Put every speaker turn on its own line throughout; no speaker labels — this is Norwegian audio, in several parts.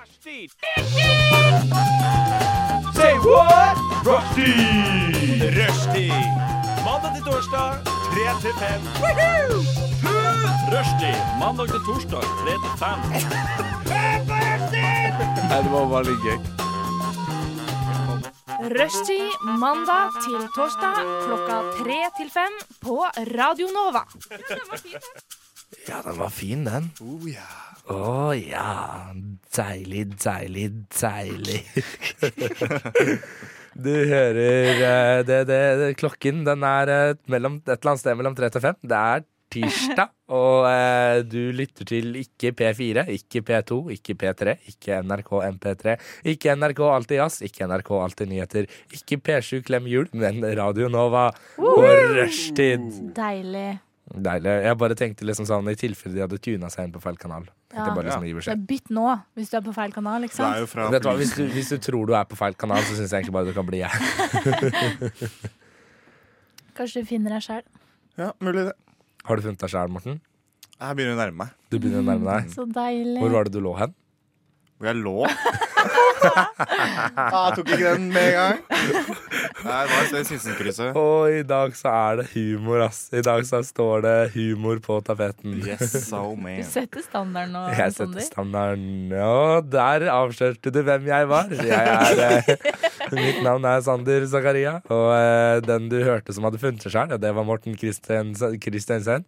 Rushdie! Say what? Rushdie! Rushdie! Mandag til torsdag, 3 til 5. Rushdie! Mandag til torsdag, 3 til 5.
Rushtid mandag til torsdag klokka tre til fem på Radio Nova.
Ja, den var fin, den. Å ja. Deilig, deilig, deilig. Du hører eh, det, det, det, klokken. Den er eh, mellom, et eller annet sted mellom tre til fem. Det er tirsdag, og eh, du lytter til ikke P4, ikke P2, ikke P3, ikke NRK MP3, ikke NRK Alltid Jazz, ikke NRK Alltid Nyheter, ikke P7 Klem Jul, men Radio Nova og Rushtid.
Deilig.
Deilig. Jeg bare tenkte liksom sånn i tilfelle de hadde tuna seg inn på feil kanal. Tenkte
Ja.
jeg bare liksom å gi
Så
beskjed.
bytt nå hvis du er på feil kanal. ikke
Du er
sant?
jo fra
Vet du hva, hvis du, hvis du tror du er på feil kanal, så syns jeg egentlig bare du kan bli jeg.
Kanskje du finner deg sjæl.
Ja, mulig det.
Har du funnet deg sjæl, Morten?
Jeg begynner å nærme meg.
Du begynner å nærme deg.
Så deilig.
Hvor var det du lå hen?
Hvor jeg lå. ah, jeg tok ikke den med en gang. Nei, det var et Sinsenkrysset.
Og i dag så er det humor, ass. I dag så står det humor på tapeten.
Yes, so man.
Du setter standarden nå,
Jeg setter
Sander.
standarden. Og der avslørte du hvem jeg var. Jeg er, eh, mitt navn er Sander Zakaria, og eh, den du hørte som hadde funnet seg sjøl, det var Morten Christensen. Christensen.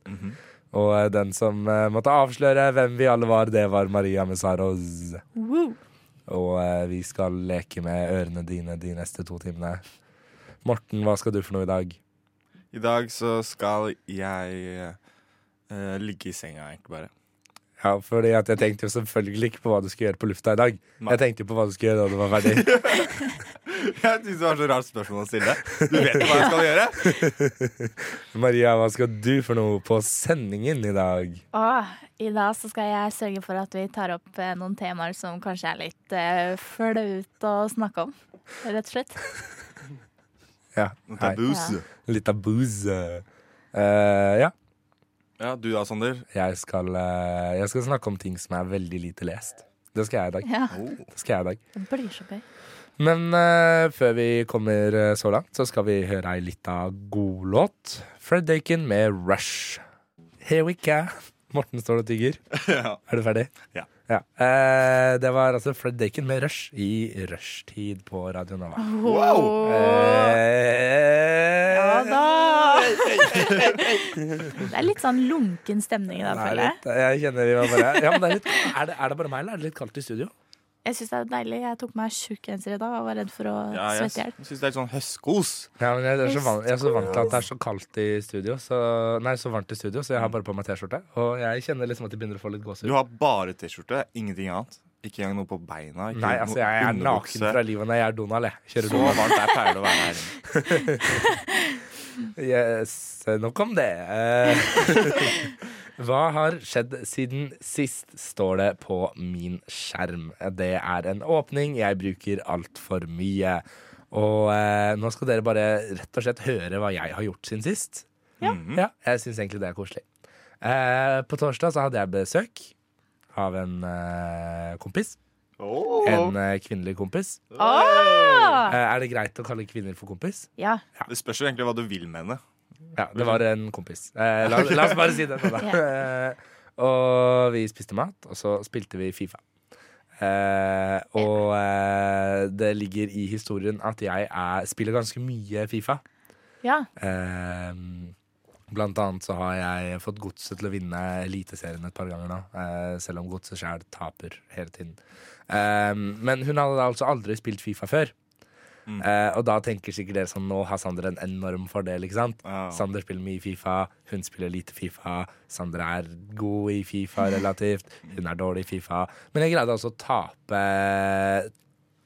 Og eh, den som eh, måtte avsløre hvem vi alle var, det var Maria Messaros.
Woo.
Og eh, vi skal leke med ørene dine de neste to timene. Morten, hva skal du for noe i dag?
I dag så skal jeg eh, ligge i senga, egentlig bare.
Ja, fordi at Jeg tenkte jo selvfølgelig ikke på hva du skal gjøre på lufta i dag.
Nei.
Jeg tenkte jo på hva du skulle gjøre da du var ferdig.
Jeg synes det var så rart spørsmål å stille. Du vet jo hva jeg skal gjøre.
Maria, hva skal du for noe på sendingen i dag?
Og Ah, I dag så skal jeg sørge for at vi tar opp eh, noen temaer som kanskje er litt eh, flaut å snakke om. Rett og slett.
Ja, hei.
Tabus.
Ja.
Litt av booze. Eh, ja,
Ja, du da, Sander.
jeg skal, eh, jeg skal snakke om ting som er veldig lite lest. Det skal jeg i dag.
Ja,
Det skal jeg i dag.
Det blir så gøy.
Men eh, før vi kommer eh, så langt, så skal vi høre ei lita godlåt. Fred Dakin med 'Rush'. Here we can. Morten står og tygger.
Ja.
Er du ferdig?
Ja.
Eh, det var altså Fred Dakin med 'Rush' i rushtid på Radio Nova.
Wow!
Eh,
Ja da! Det er litt sånn lunken stemning i dag,
det er
føler jeg.
litt, jeg kjenner vi var bare ja, men det er, litt, er, det, er det bare meg, eller er det litt kaldt i studio?
Jeg syns det er deilig. Jeg tok meg tjukk genser i dag og var redd for å
Ja, jeg
svette i hjel.
syns det er litt sånn høstkos.
Ja, men jeg, er så vant, jeg er så vant til at det er så kaldt i studio, så, nei, så varmt i studio, så jeg har bare på meg T-skjorte. Og jeg kjenner liksom at jeg begynner å få litt
Du
gåsehud.
har bare T-skjorte, ingenting annet. Ikke engang noe på beina. Ikke
Nei,
noe
altså, jeg er
underbukse.
naken fra livet når jeg er Donald, jeg. Kjører
Så
Donald.
varmt jeg pleier det å være her.
Yes, nok om det. Eh, Hva har skjedd siden sist, står det på min skjerm. Det er en åpning jeg bruker altfor mye. Og eh, nå skal dere bare rett og slett høre hva jeg har gjort siden sist.
Ja.
Ja, jeg syns egentlig det er koselig. Eh, på torsdag så hadde jeg besøk av en eh, kompis.
Åh.
En eh, kvinnelig kompis.
Åh!
Eh, er det greit å kalle kvinner for kompis?
Ah! Ja.
Det spørs jo egentlig hva du vil med henne.
Ja, det var en kompis. Eh, la, la oss bare si det. Da.
Ja.
Eh, og vi spiste mat, og så spilte vi Fifa. Eh, og eh, det ligger i historien at jeg er, spiller ganske mye Fifa.
ja.
Eh, blant annet så har jeg fått Godset til å vinne Eliteserien et par ganger nå. Eh, selv om Godset sjæl taper hele tiden. Eh, men hun hadde da altså aldri spilt Fifa før. Eh, og da tenker sikkert dere sånn nå har Sander en enorm fordel, ikke sant?
Ja.
Sander spiller mye Fifa, hun spiller lite Fifa. Sander er god i Fifa relativt, hun er dårlig i Fifa. Men jeg greide altså å tape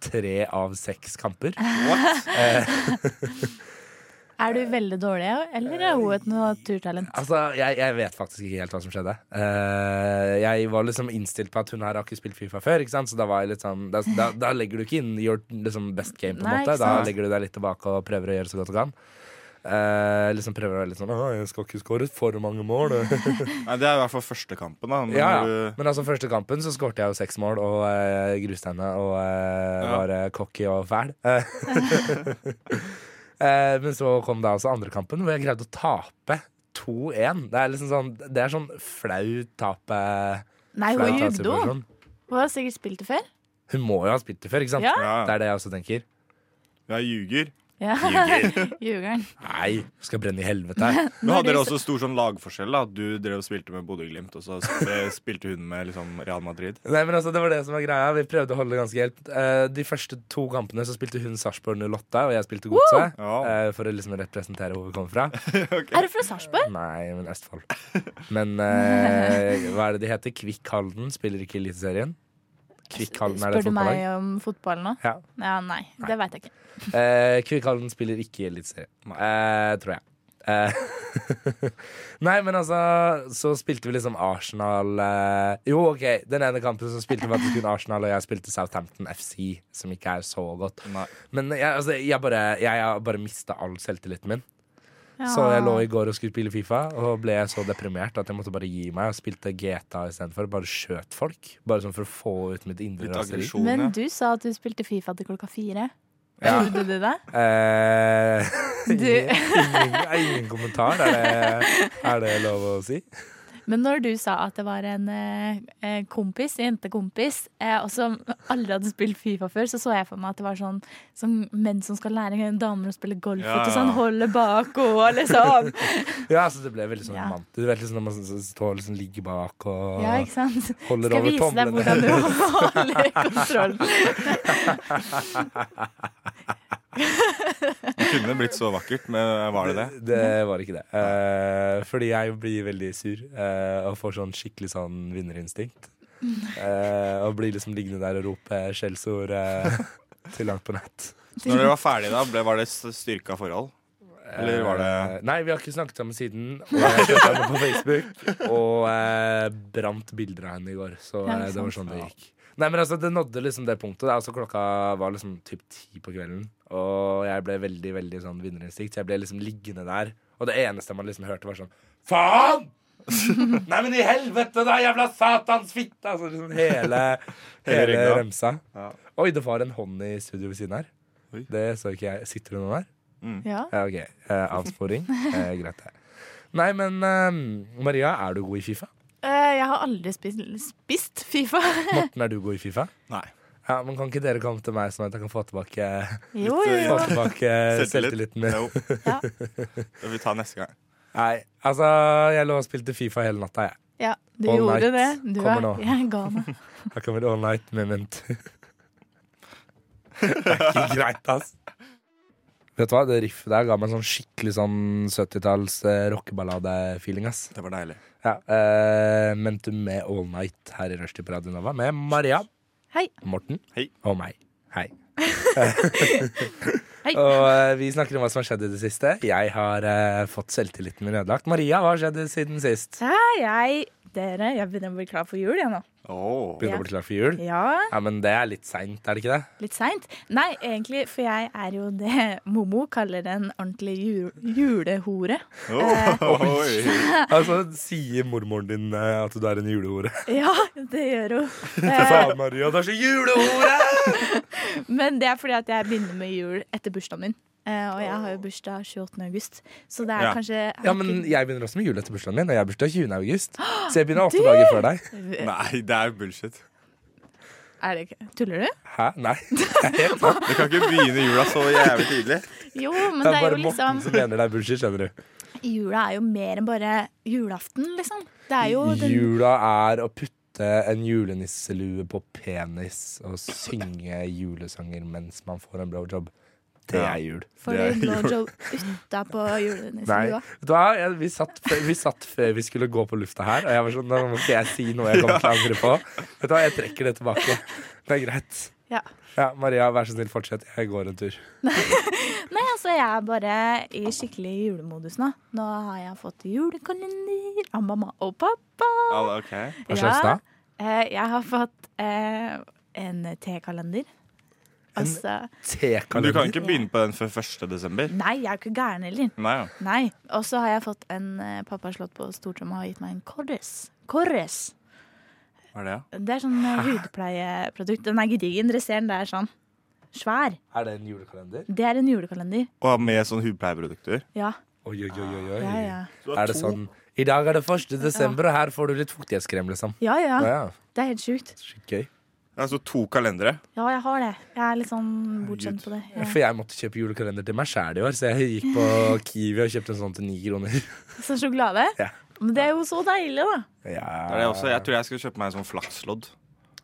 tre av seks kamper.
Er du veldig dårlig, eller er hun et naturtalent?
Altså, jeg, jeg vet faktisk ikke helt hva som skjedde. Eh, jeg var liksom innstilt på at hun her har ikke spilt Fifa før, ikke sant? så da var jeg litt sånn Da, da, da legger du ikke inn your liksom, best game, på en
Nei,
måte.
ikke
Da
sant.
legger du deg litt tilbake og prøver å gjøre så godt du kan. eh, liksom prøver å være litt sånn «Å, 'Jeg skal ikke skåre for mange mål'.
Nei, det er i hvert fall første kampen, da. Men
ja,
når
ja.
du-
Men altså, første kampen så skårte jeg jo seks mål og eh, gruste henne og eh,
Ja.
var eh, cocky og fæl. Eh, eh, men så kom da altså andre kampen, hvor jeg greide å tape 2-1. Det er liksom sånn Det er sånn flau tape
Nei,
flau
hun jugde hun.
tapsituasjon.
Hun har sikkert spilt det før.
Hun må jo ha spilt det før, ikke sant?
Ja.
Ja,
Det er det jeg også tenker.
jeg ljuger.
ja.
Ljuger.
Ljugeren.
Nei, hun skal brenne i helvete.
Men
Når
hadde
du
dere også stor sånn lagforskjell? da Du drev og spilte med Bodø-Glimt, og så sp- eh, spilte hun med liksom Real Madrid.
Nei, men altså, det var det som var greia. Vi prøvde å holde det ganske helt. Eh, de første to kampene så spilte hun Sarpsborg 08, og jeg spilte Godset.
Ja.
eh, for å liksom representere hvor vi kommer fra.
Er du fra Sarpsborg?
Nei, men Østfold. Men eh, hva er det de heter? Kvikk Halden spiller ikke Eliteserien. Kvikk Halden er det
Spør du meg
fotballag?
om fotball nå?
Ja.
Ja, nei, det veit jeg ikke.
Eh, Kvikk Halden spiller ikke i Eliteserien, eh, tror jeg. Eh, Nei, men altså, så spilte vi liksom Arsenal eh, Jo, OK, den ene kampen så spilte vi faktisk kun Arsenal, og jeg spilte Southampton FC, som ikke er så godt.
Nei.
Men jeg, altså, jeg bare, jeg har bare mista all selvtilliten min.
Ja.
Så jeg lå i går og skulle spille Fifa, og ble så deprimert at jeg måtte bare gi meg. Og spilte GTA istedenfor. Bare skjøt folk. Bare sånn for å få ut mitt indre
Litt
raseri.
aggresjon.
Men
ja.
du sa at du spilte Fifa til klokka fire.
Ja.
Gjorde du det?
Eh,
Du-
ingen, ingen, ingen kommentar. Er det, er det lov å si?
Men når du sa at det var en eh, eh, kompis, en jentekompis, eh, og som aldri hadde spilt Fifa før, så så jeg for meg at det var sånn som menn som skal lære damer å spille golf,
Ja,
og
ja.
sånn holder bak og liksom.
Ja, altså det ble veldig sånn
Ja.
mann. Du vet liksom når man s- s- står og liksom ligger bak og
Ja, ikke sant?
holder
Skal
over
vise deg
tomlene.
hvordan du holder kontrollen.
Det kunne blitt så vakkert, men eh, var det det?
Det, var ikke det. Eh, fordi jeg blir veldig sur eh, og får sånn skikkelig sånn vinnerinstinkt. Eh, og blir liksom liggende der og rope skjellsord eh, til langt på nett.
Når dere var ferdige da, ble, var det s- styrka forhold? Eller var det
Eh, Nei, vi har ikke snakket sammen siden. Og jeg kjente henne på Facebook og eh, brant bilder av henne i går. Så
Ja,
eh,
ikke
det var
sant.
sånn det gikk. Nei, men altså, Det nådde liksom det punktet. da. Altså, klokka var liksom typ ti på kvelden. Og jeg ble veldig veldig sånn vinnerinstinkt. Så jeg ble liksom liggende der. Og det eneste man liksom hørte, var sånn Faen! Nei, men i helvete, da, jævla satans fitte! Altså liksom hele,
Hele
hele
ringa.
remsa.
Ja.
Oi, det var en hånd i studio ved siden her.
Oi.
Det så ikke jeg. Sitter hun der?
Ja.
Ja, ok. Eh, avsporing. Eh, greit, det. Nei, men eh, Maria, er du god i Fifa?
Eh, Jeg har aldri spist, spist Fifa.
Morten, er du god i Fifa?
Nei.
Ja, men Kan ikke dere komme til meg, sånn at jeg kan få tilbake,
Jo, jo,
Litt,
få
jo.
tilbake
Eh, Selvtillit?
selvtilliten min?
Jo.
Ja.
Det får vi ta neste gang.
Nei, altså, jeg lå og spilte Fifa hele natta, jeg.
Ja, du
All
gjorde
night
det. Du
kommer
er,
nå.
jeg ga meg.
Her kommer det all night moment. det er ikke greit, ass. Vet du hva, Det riffet der ga meg en sånn skikkelig sånn 70-talls eh, rockeballade-feeling. ass
Det var deilig.
Ja, eh, Mentum med All Night her i Rushdie på Radio Nova med Maria.
Hei.
Morten.
Hei.
Og meg. Hei.
Hei.
Og eh, vi snakker om hva som har skjedd i det siste. Jeg har eh, fått selvtilliten min ødelagt. Maria, hva har skjedd siden sist?
Ja, jeg Dere, jeg begynner å bli klar for jul, jeg nå.
Åh.
Eh.
Begynner å bli klar for jul?
Ja,
Ja, men det er litt seint, er det ikke det?
Litt seint? Nei, egentlig, for jeg er jo det Momo kaller en ordentlig ju- julehore.
Åh, oi.
Altså, Sier mormoren din eh, at du er en julehore?
Ja, det gjør hun. Eh,
Faen, Maria, du er så julehore!
Men det er fordi at jeg begynner med jul etter bursdagen min. Eh, Og jeg har jo bursdag 28. august, så det er
Ja.
kanskje
Ja, men jeg begynner også med jul etter bursdagen min, og jeg har bursdag 20. august. Så jeg begynner åtte dager før deg.
Nei, det er bullshit.
er det ikke? Tuller du?
Hæ? Nei.
Du kan ikke begynne jula så jævlig tidlig.
Jo, men det
Det er
er
bare
jo
Morten
liksom
som mener det er bullshit, skjønner du.
Jula er jo mer enn bare julaften, liksom. Det er jo den
Jula er å putte en julenisselue på penis og synge julesanger mens man får en blowjob. Det
Ja.
er jul.
For
det er
en blowjob utapå julenissestua.
Vet du hva? Jeg- Vi satt, før- vi satt før vi skulle gå på lufta her, og jeg var sånn Nå må ikke jeg si noe jeg kommer til å angre på. Vet du hva, jeg trekker det tilbake. Det er greit.
Ja.
Ja, Maria, vær så snill, fortsett. Jeg går en tur.
Nei, altså jeg er bare i skikkelig julemodus nå. Nå har jeg fått julekalender av mamma og pappa.
Ja, ok.
Hva slags da?
Eh, Jeg har fått eh, en tekalender. Altså,
Du kan
T-kalender.
ikke begynne på den før 1. desember.
nei, jeg er jo ikke gæren heller.
Nei, ja.
Nei. Og så har jeg fått en eh, Pappa har slått på stortromma og har gitt meg en korres. Korres.
Hva er det, ja?
Det er sånn
Ah.
eh, hudpleieprodukt. Den er gedigen. Dere ser den der sånn. Svær.
Er det en julekalender?
Det er en julekalender.
Og med sånn hudpleieprodukter.
Ja.
Oi, oi, oi, oi, oi.
Ja, ja.
Er det sånn I dag er det 1. desember, og her får du litt fuktighetskrem, liksom.
ja, ja.
Ja, ja.
Det er helt sjukt.
Sykt gøy.
Altså to kalendere.
Ja, jeg har det. Jeg er litt sånn bortskjemt på det.
Ja,
Ja.
For jeg måtte kjøpe julekalender til meg sjæl i år, så jeg gikk på Kiwi og kjøpte en sånn til ni kroner.
Så sjokolade?
Ja.
Men det er jo så deilig, da.
Det er det også. Jeg tror jeg skal kjøpe meg en sånn flakslodd.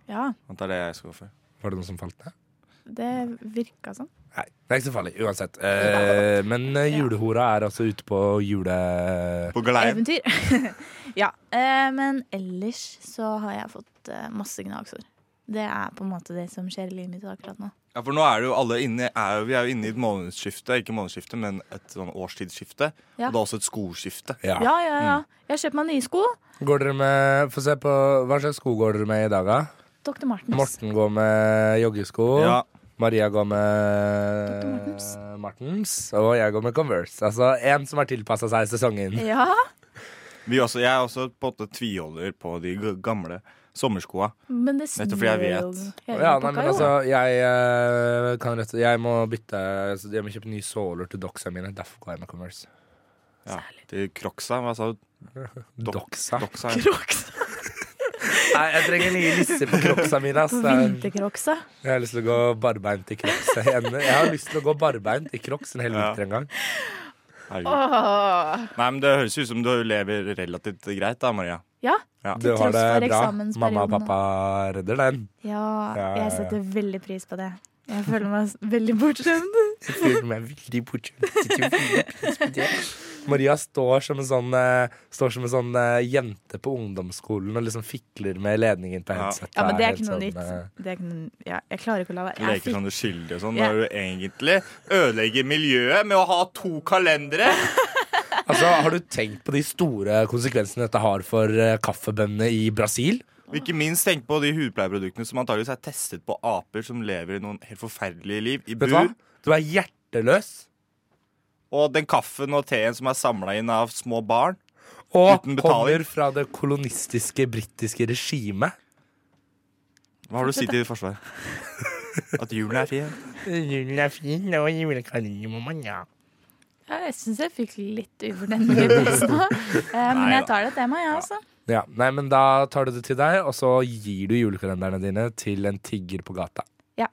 Ja,
At det er det jeg skal gå for.
Var det noe som falt ned?
det virka sånn.
Nei, det er ikke så farlig, uansett. Eh, men eh, julehora er altså ute på jule...
På galeien.
Eventyr. ja. Eh, men ellers så har jeg fått eh, masse gnagsår. Det er på en måte det som skjer i livet mitt akkurat nå.
Ja, for nå er det jo alle inne er jo, Vi er jo inne i et månedsskifte. Ikke månedsskifte, men et sånn årstidsskifte.
Ja.
Og da også et skoskifte.
Ja. Mm.
Ja, ja, ja. Jeg har kjøpt meg nye sko.
Går dere med Få se på Hva slags sko går dere med i dag, da?
Dr. Martens.
Morten går med joggesko.
Ja.
Maria
Dr.
går med
Martens.
Martens. Og jeg går med Converse. Altså en som har tilpassa seg sesongen.
Ja.
Vi også, jeg er også på en måte tviholder på de g- gamle sommerskoa.
Men det
Nettopp fordi
snør
jeg vet.
jo.
Å
Hele
Ja, nei,
pakka
men
jo.
altså, jeg eh, kan rett Jeg må bytte altså, Jeg må kjøpe nye såler til doxa mine. Derfor går jeg med Converse.
Ja. De crocsa, hva sa du? Dok-
Doxa?
Doxa, ja.
Crocs.
Nei, jeg trenger nye lisser på croxa mine. ass. Det er-
Vintercrocs, da.
Jeg har lyst til å gå barbeint i crocs. igjen. Jeg har lyst til å gå barbeint i crocs en hel
Ja.
vinter en gang.
Herregud. Nei, men Det høres ut som du lever relativt greit, da, Maria.
Ja.
Ja.
Du har
tross for
det bra.
eksamensperioden,
Mamma og
da.
pappa redder den.
ja.
Ja, ja,
Jeg
ja.
setter veldig pris på det. Jeg føler meg s- veldig bortskjemt.
Jeg føler meg veldig bortskjemt. Jeg setter veldig pris på det. Maria står som en sånn, eh, står som en sånn eh, jente på ungdomsskolen og liksom fikler med ledningen på
Ja.
headsetet.
Ja, men det er
helt
ikke noe
sånn,
nytt.
eh,
Det er ikke noe, ja, jeg klarer ikke å la være. Jeg
Leker
fikk-
sånn du skyldig og sånn.
Ja.
Når du egentlig ødelegger miljøet med å ha to kalendere.
Altså, Har du tenkt på de store konsekvensene dette har for eh, kaffebøndene i Brasil?
Og ikke minst tenk på de hudpleieproduktene som antageligvis er testet på aper som lever i noen helt forferdelige liv i
Vet du hva?
bur.
Du er hjerteløs.
Og den kaffen og teen som er samla inn av små barn.
Og
Uten betaling.
kommer fra det kolonistiske britiske regimet.
Hva har du å si til Forsvaret? At julen er fin.
Julen er fin, og julekalender må man ha.
Ja, jeg syns jeg fikk litt ufortjentlig pris nå. Eh, Men
Nei
jeg tar det til meg, jeg også.
Ja, nei, men Da tar du det til deg, og så gir du julekalenderne dine til en tigger på gata.
Ja.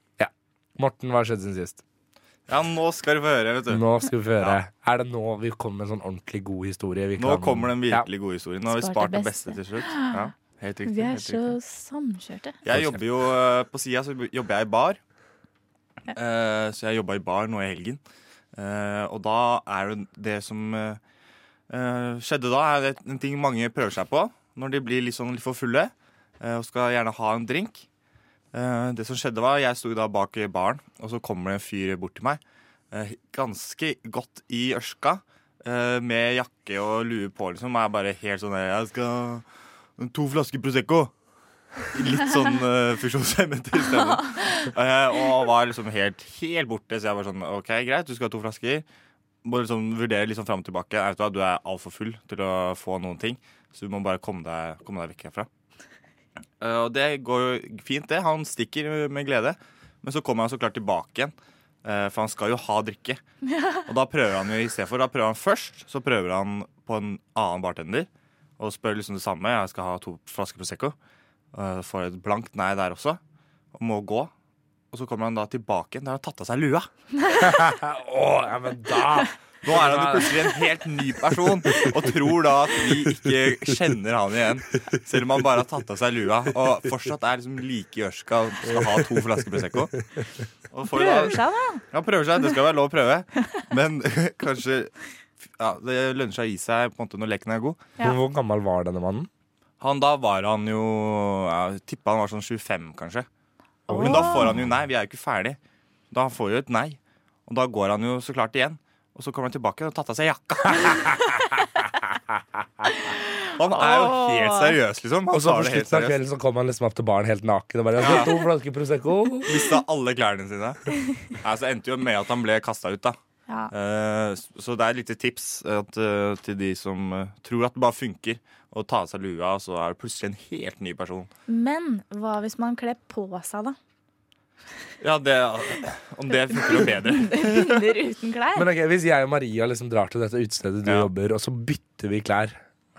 Morten, hva har skjedd siden sist?
Ja, nå skal du få høre, vet du.
Nå skal vi få høre. Er det nå vi kommer med en sånn ordentlig god historie? Vi
Nå
kan-
kommer den
Ja.
virkelig gode historien. Nå har vi
Spart
spart
det
det beste til slutt. Ja, helt riktig.
Vi er
Helt
så
riktig.
samkjørte.
Jeg jobber jo eh, på sida, så jobber jeg i bar. Eh, Så jeg jobba i bar nå i helgen. Eh, Og da er det det som eh, eh, skjedde da, er det en ting mange prøver seg på når de blir litt sånn litt for fulle eh, og skal gjerne ha en drink. Eh, Det som skjedde var, Jeg sto da bak i baren, og så kommer det en fyr bort til meg. eh, Ganske godt i ørska, eh, med jakke og lue på, liksom. Og er bare helt sånn der, Jeg skal ha to flasker Prosecco. Litt sånn uh, funksjonshemmet i stemmen. Eh, og var liksom helt, helt borte, så jeg var sånn OK, greit, du skal ha to flasker. Må liksom vurdere liksom fram og tilbake. Jeg vet hva, du er altfor full til å få noen ting, så du må bare komme deg, komme deg vekk herfra. Eh, og det går jo fint, det. Han stikker med glede. Men så kommer han så klart tilbake igjen, eh, for han skal jo ha drikke. Og da prøver han jo i stedet for. Da prøver han først, så prøver han på en annen bartender og spør liksom det samme. Jeg skal ha to flasker Prosecco. Eh, får et blankt nei der også, og må gå. Og så kommer han da tilbake igjen, der han har tatt av seg lua.
Å, ja, men da
Nå er han jo plutselig en helt ny person, og tror da at vi ikke kjenner han igjen. Selv om han bare har tatt av seg lua, og fortsatt er liksom like i ørska og skal ha to flasker Prosecco. Og får jo da-
Prøver seg, da.
ja, prøver seg. Det skal være lov å prøve. Men kanskje ja, Det lønner seg å gi seg på en måte når leken er god.
Ja.
Men Hvor gammel var denne mannen?
Han Da var han jo Jeg tippa han var sånn 25, kanskje. Men da får han jo nei. Vi er jo ikke ferdig. Da får han jo et nei. Og da går han jo så klart igjen. Og Og så kommer han tilbake og har tatt av seg jakka. han er jo helt
Åh.
seriøs, liksom. Han
Og så
tar
på
det helt
slutten av
seriøst.
kvelden så kom han liksom opp til baren helt naken og bare «Jeg har To flasker Prosecco.
Mista alle klærne sine. Nei, så endte jo med at han ble kasta ut, da.
Ja.
Eh, så det er et lite tips at, eh, til de som eh, tror at det bare funker å ta av seg lua, og så er du plutselig en helt ny person.
Men hva hvis man kler på seg, da?
Ja, det, Om det funker noe bedre.
Hunder uten klær?
Men ok, Hvis jeg og Maria liksom drar til dette utestedet du
Ja.
jobber, og så bytter vi klær,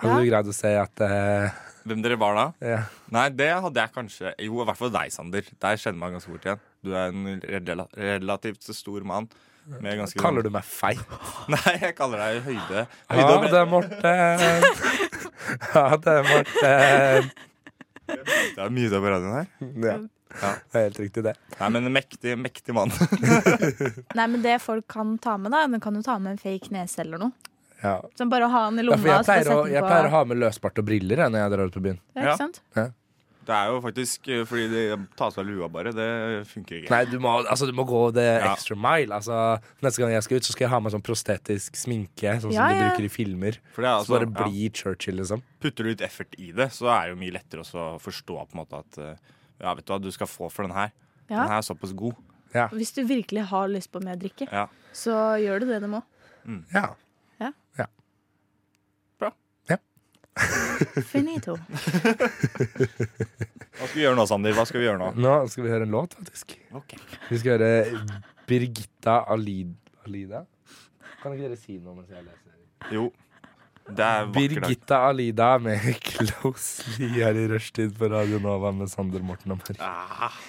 hadde
Ja.
du greid å se at eh,
Hvem dere var da?
ja.
Nei, det hadde jeg kanskje Jo, i hvert fall deg, Sander. Der kjenner man ganske fort igjen. Du er en rela- relativt stor mann. Med ganske
Kaller du meg feit?
Nei, jeg kaller deg høyde. høyde
Ja,
og bredde.
det er Morten. Ja, det er Morten.
Det er mye det på radioen her.
Ja. Det er helt riktig, det.
Nei, men en mektig, mektig mann.
Nei, men det folk kan ta med, da. Du kan jo ta med en fake nese eller noe.
Ja.
Som bare å ha den i
Ja,
lomma.
for jeg
og så bare
pleier, å,
sette den
jeg
på-
pleier å ha med løsbart og briller jeg, når jeg drar ut på byen.
Ja,
Ja.
ikke sant?
Det er jo faktisk eh, fordi de tar av seg lua bare. Det funker ikke.
Nei, du må, altså, du må gå det
Ja.
extra mile. Altså, neste gang jeg skal ut, så skal jeg ha med sånn prostetisk sminke, sånn som
Ja,
de
ja.
bruker i filmer.
For det er
så
altså,
bare bli Churchill, liksom.
ja, Putter du litt effort i det, så er det jo mye lettere også å forstå på en måte at eh, ja, vet du hva, du skal få for den her.
Ja.
Den her er såpass god.
Hvis du virkelig har lyst på mer drikke,
Ja.
så gjør du det du må.
Ja.
Finito.
Hva skal vi gjøre nå, Sander? Hva skal vi gjøre nå?
Nå skal vi høre en låt, faktisk.
Ok.
Vi skal høre Birgitta Alid Alida. Kan ikke dere si noe mens jeg leser?
Jo. Det er vakker dag.
Birgitta Alida med Closely her i rushtid på Radio Nova med Sander Morten og Marie.
Ah,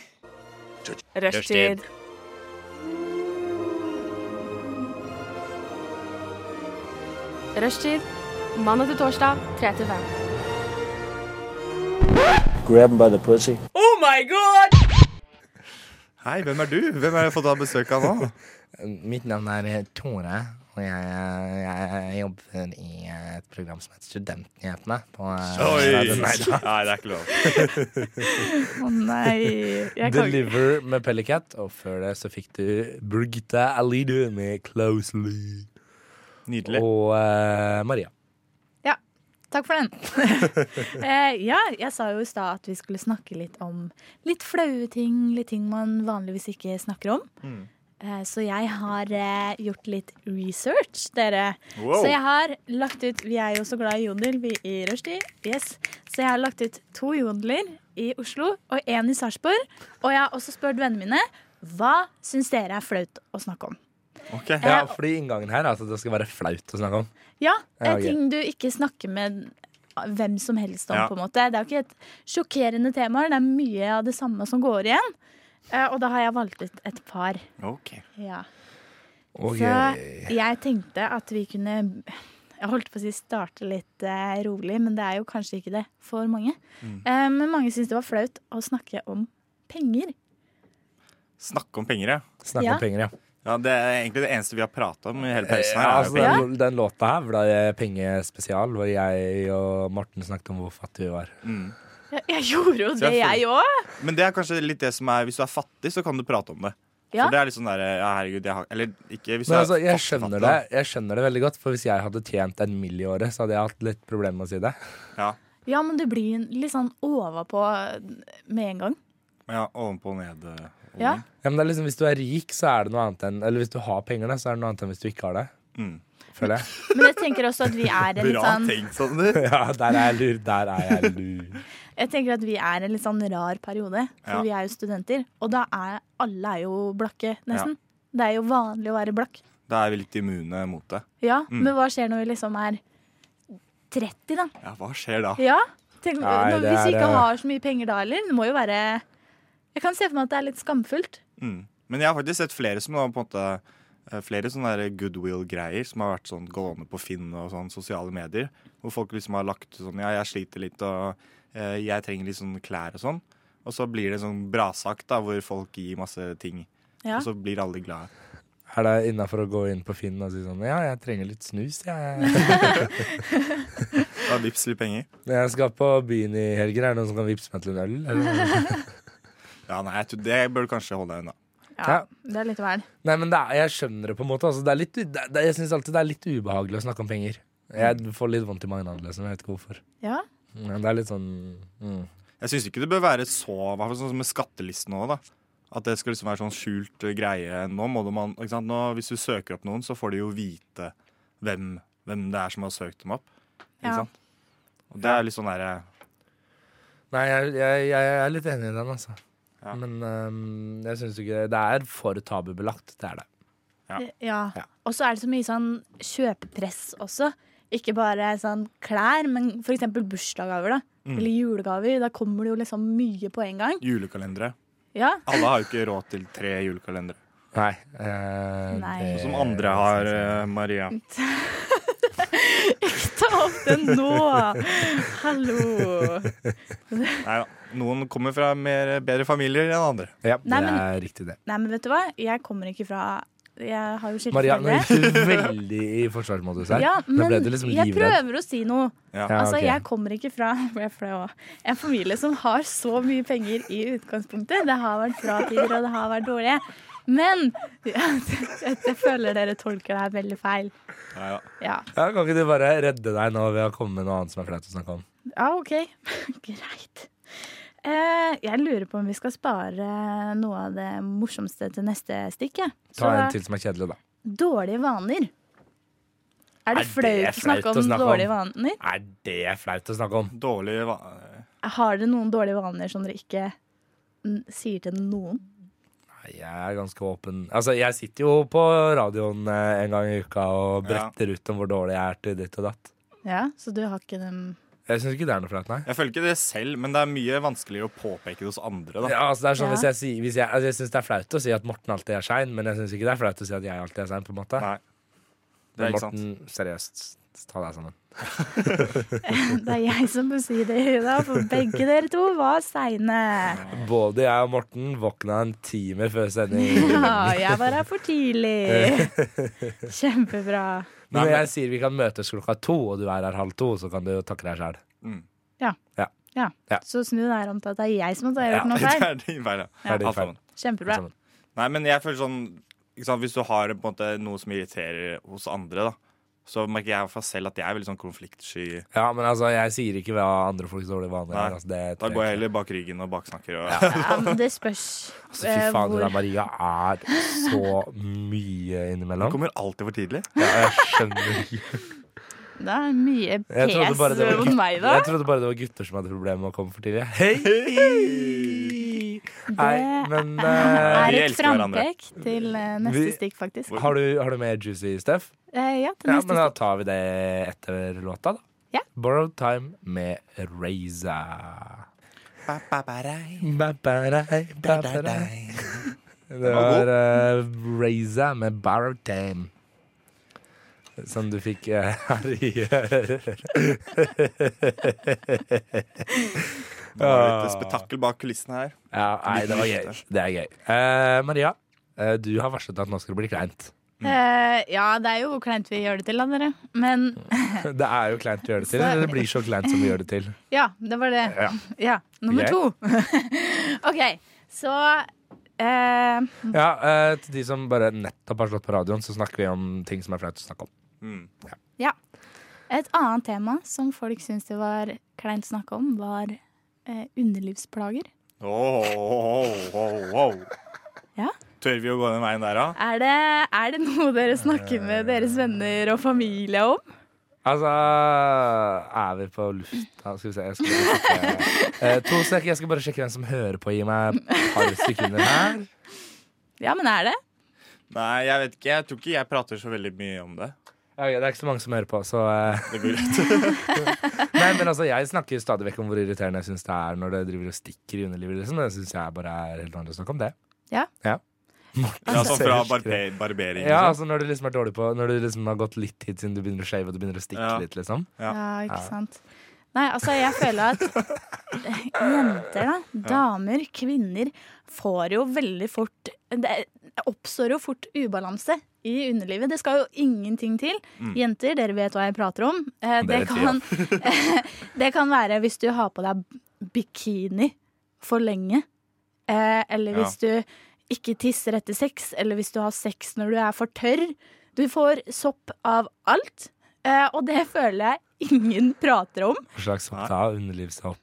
Rushtid.
Rushtid. Rushtid. Mandag til torsdag, 3 til 5.
grab him by the pussy.
Hei, hvem er du? Hvem har jeg fått ha besøk av nå?
Mitt navn er eh, Tore, og jeg, jobber i eh, et program som heter Studentnyhetene. eh,
Oi! Nei, det er ikke lov.
Å nei. Jeg kan ikke.
Deliver med Pellicat, og før det så fikk du Birgitta Alidu med Closely.
Nydelig.
Og eh, Maria.
Takk for den. eh, ja, jeg sa jo i stad at vi skulle snakke litt om litt flaue ting, litt ting man vanligvis ikke snakker om. Eh, så jeg har eh, gjort litt research, dere.
Wow.
Så jeg har lagt ut Vi er jo så glad i jodel, vi i Rushdie. Yes. Så jeg har lagt ut to jodeler i Oslo og én i Sarpsborg. Og jeg har også spurt vennene mine hva syns dere er flaut å snakke om.
Ok.
Ja, fordi inngangen her er at det skal være flaut å snakke om.
Ja,
Ja,
eh,
ok.
ting du ikke snakker med hvem som helst om,
Ja.
på en måte. Det er jo ikke et sjokkerende tema, det er mye av det samme som går igjen. Eh, Og da har jeg valgt ut et par.
Ok.
Ja.
Og, eh,
Så jeg tenkte at vi kunne Jeg holdt på å si starte litt eh, rolig, men det er jo kanskje ikke det for mange.
Mm.
Eh, men mange syns det var flaut å snakke om penger.
Snakke om penger, ja.
snakke
Ja.
om penger, ja.
ja. Det er egentlig det eneste vi har prata om i hele pausen
Ja,
her. er
altså,
jo
den,
penger.
den låta her ble pengespesial, hvor jeg og Morten snakket om hvor fattige vi var.
Jeg, jeg gjorde jo det,
Selvfølgelig.
jeg òg.
Men det er kanskje litt det som er Hvis du er fattig, så kan du prate om det.
Ja.
For det er litt sånn der, ja, herregud, jeg har Eller ikke hvis du
Men
er
altså, jeg
fattig,
skjønner det,
fattig,
jeg skjønner det veldig godt, for hvis jeg hadde tjent en mill i året, så hadde jeg hatt litt problemer med å si det.
da. Ja.
Ja, men du blir en- litt sånn ovenpå med en gang.
ja ovenpå og ned. eh,
Ja.
holdning.
Ja, men det er liksom, hvis du er rik, så er det noe annet enn Eller hvis du har penger, da, så er det noe annet enn hvis du ikke har det.
Mm.
Føler jeg.
Men jeg tenker også at vi er en litt
Bra
sånn
tenkt, Sander.
Ja, der er jeg lur. Der er jeg lur.
Jeg tenker at vi er en litt sånn rar periode, for
Ja.
vi er jo studenter. Og da er alle er jo blakke, nesten. Det er jo vanlig å være blakk.
Da er vi litt immune mot det.
Ja,
Mm.
Men hva skjer når vi liksom er 30, da?
Ja, hva skjer da?
Ja, tenk,
Nei,
når,
det
Hvis vi
er,
ikke
eh,
har så mye penger da heller, det må jo være Jeg kan se for meg at det er litt skamfullt.
Mm. Men jeg har faktisk sett flere som har på en måte eh, Flere sånne der goodwill-greier som har vært sånn gående på Finn og sånn sosiale medier. Hvor folk liksom har lagt sånn Ja, jeg sliter litt, og eh, jeg trenger litt sånn klær og sånn. Og så blir det sånn brasakt, da, hvor folk gir masse ting.
Ja.
Og så blir alle glade.
Er det innafor å gå inn på Finn og si sånn Ja, jeg trenger litt snus, jeg.
Da vips litt penger.
Når jeg skal på byen i helgen, er det noen som kan vippse meg til en øl? Eller?
Ja, nei, jeg tror det bør du kanskje holde deg unna.
Ja,
Ja.
det er litt vel.
Nei, men det er, jeg skjønner det på en måte. Altså, det er litt, u- det, det, jeg syns alltid det er litt ubehagelig å snakke om penger. Jeg får litt vondt i magen av det, liksom. Jeg vet ikke hvorfor.
Ja.
Men det er litt sånn mm.
Jeg syns ikke det bør være så i hvert fall sånn som med skattelisten òg, da. At det skal liksom være sånn skjult eh, greie. Nå må du man, ikke sant? Nå, hvis du søker opp noen, så får de jo vite hvem, hvem det er som har søkt dem opp. Ikke
Ja.
sant? Og det er litt sånn derre
Nei, jeg, jeg, jeg er litt enig i den, altså.
Ja.
Men øhm, jeg syns ikke Det er for tabubelagt, det er det.
Ja.
Det- eh, ja.
Ja.
Og så er det så mye sånn kjøpepress også. Ikke bare sånn klær, men f.eks. bursdagsgaver. da
Mm.
Eller julegaver. Da kommer det jo liksom mye på en gang.
julekalendere.
Ja,
Alle har jo ikke råd til tre julekalendere.
Nei. øh,
Nei.
det-
Som andre har, eh, Maria.
ta opp det nå! Hallo!
Nei da. Noen kommer fra mer, eh, bedre familier enn andre.
Ja,
Nei,
det
men-
er riktig, det.
Nei, men vet du hva? Jeg kommer ikke fra Jeg har jo skilt
Maria, nå
foreldre.
gikk du veldig i forsvarsmodus her.
Ja,
nå ble
men
du liksom
jeg
livredd.
prøver å si noe.
Ja.
Ja,
Altså,
ok.
Jeg kommer ikke fra jeg ble flau også, en familie som har så mye penger i utgangspunktet. Det har vært bra tider, og det har vært dårlige. Men jeg, jeg føler dere tolker det her veldig feil.
Nei da.
Ja,
Ja, kan ikke du bare redde deg nå ved å komme med noe annet som er flaut å snakke om?
ja OK. Greit. Eh, jeg lurer på om vi skal spare noe av det morsomste til neste stikk. jeg.
Ta
Så,
en til som er kjedelig, da.
dårlige vaner. Er det
Er det
flaut å
flaut
snakke
å
om
snakke om?
dårlige vaner?
Er det flaut å snakke om?
Dårlig va... eh,
Har dere noen dårlige vaner som dere ikke mm, sier til noen?
Nei, Jeg er ganske åpen. Altså, jeg sitter jo på radioen eh, en gang i uka og bretter ut om hvor dårlig jeg er til ditt og datt.
Ja, så du har ikke dem
Jeg syns ikke det er noe flaut, nei.
Jeg føler ikke det selv, men det er mye vanskeligere å påpeke det hos andre. da.
Ja, altså, det er
Ja.
sånn, hvis jeg, sier- hvis jeg, altså, jeg syns det er flaut å si at Morten alltid er sein, men jeg syns ikke det er flaut å si at jeg alltid er sein, på en måte.
Nei. Det
Men
er ikke sant.
Morten, seriøst, ta deg sammen.
Det er jeg som bør si det, Ida, for begge dere to var seine.
Både jeg og Morten våkna en time før sending.
Ja, jeg var her for tidlig. Kjempebra.
Men når jeg sier vi kan møtes klokka to, og du er her halv to, så kan du jo takke deg sjæl.
Ja.
Ja.
Så snu deg rundt at det er jeg som har gjort noe
Det
feil.
er din feil, ja.
Ja.
Alt sammen.
Kjempebra.
Nei, men jeg føler sånn ikke sant? Hvis du har på en måte noe som irriterer hos andre, da, så merker jeg i hvert fall selv at jeg er veldig sånn konfliktsky.
Ja, men altså, jeg sier ikke hva andre folks dårlige vaner
Nei,
er. Altså, det
Da
trenger
går
jeg
jeg
ikke.
heller bak ryggen og baksnakker. Og,
Ja, men det spørs
Altså,
eh,
fy faen,
hvor
hun der Maria er så mye innimellom.
Kommer alltid for tidlig.
Ja, jeg skjønner ikke.
Det er mye
Jeg trodde,
pes
bare det var
mot meg,
gutter,
da.
jeg trodde bare det var gutter som hadde problemer med å komme for tidlig. Hei! Nei, men eh,
Er
Vi
et
elsker hverandre.
frampek til eh, neste
Vi-
stikk, faktisk.
har, du, har du mer juicy stuff?
Eh, ja, til
Ja,
neste
men da tar vi det etter låta, da.
Ja.
Borrowed Time med Razor.
Ba, ba, ba, rei, da, da,
Det
dei.
var uh, Razor med Borrowed Time. Som du fikk eh, her i
Det var litt spetakkel bak kulissene her.
Ja, nei, det var gøy. Det er gøy. Eh, Maria, eh, du har varslet at nå skal det bli kleint.
Eh, ja, det er jo hvor kleint vi gjør det til, da, dere. Men
Det er jo kleint vi gjør det til, eller det blir så kleint som vi gjør det til.
ja, det var det.
Ja.
Ja, nummer
Jeg-
to. OK, så eh,
Ja, eh, til de som bare nettopp har slått på radioen, så snakker vi om ting som er flaut å snakke om.
Mm.
Ja. Et annet tema som folk syntes det var kleint å snakke om, var eh, underlivsplager.
Åh, åh, åh, åh, åh.
Ja.
Tør vi å gå den veien der, da?
Er det, er det noe dere snakker med
Eh.
deres venner og familie om?
Altså Er vi på lufta? Skal vi se. Jeg skal bare sjekke. Eh, to sek, jeg skal bare sjekke hvem som hører på. Gi meg et par sekunder her.
Ja, men er det?
Nei, jeg vet ikke. Jeg tror ikke jeg prater så veldig mye om det.
Ja, ok, det er ikke så mange som hører på, så eh.
Det går greit.
Nei, men altså, jeg snakker stadig vekk om hvor irriterende jeg syns det er når det driver og stikker i underlivet. Liksom. Det syns jeg bare er helt vanlig å snakke om det.
Ja.
ja.
Ja, sånn fra barbe barbering.
Ja,
liksom.
altså når du liksom er dårlig på Når du liksom har gått litt tid siden du begynner å shave og det begynner å stikke
Ja.
litt, liksom.
Ja.
Ja, ikke sant. Nei, altså jeg føler at jenter, da, damer, kvinner, får jo veldig fort Det oppstår jo fort ubalanse i underlivet. Det skal jo ingenting til. Jenter, dere vet hva jeg prater om. Eh, det,
Det Mm. vet vi, ja.
kan, det kan være hvis du har på deg bikini for lenge. Eh, eller hvis du ikke tisser etter sex, eller hvis du har sex når du er for tørr. Du får sopp av alt, eh, og det føler jeg ingen prater om.
Hva slags sopp da? Underlivssopp,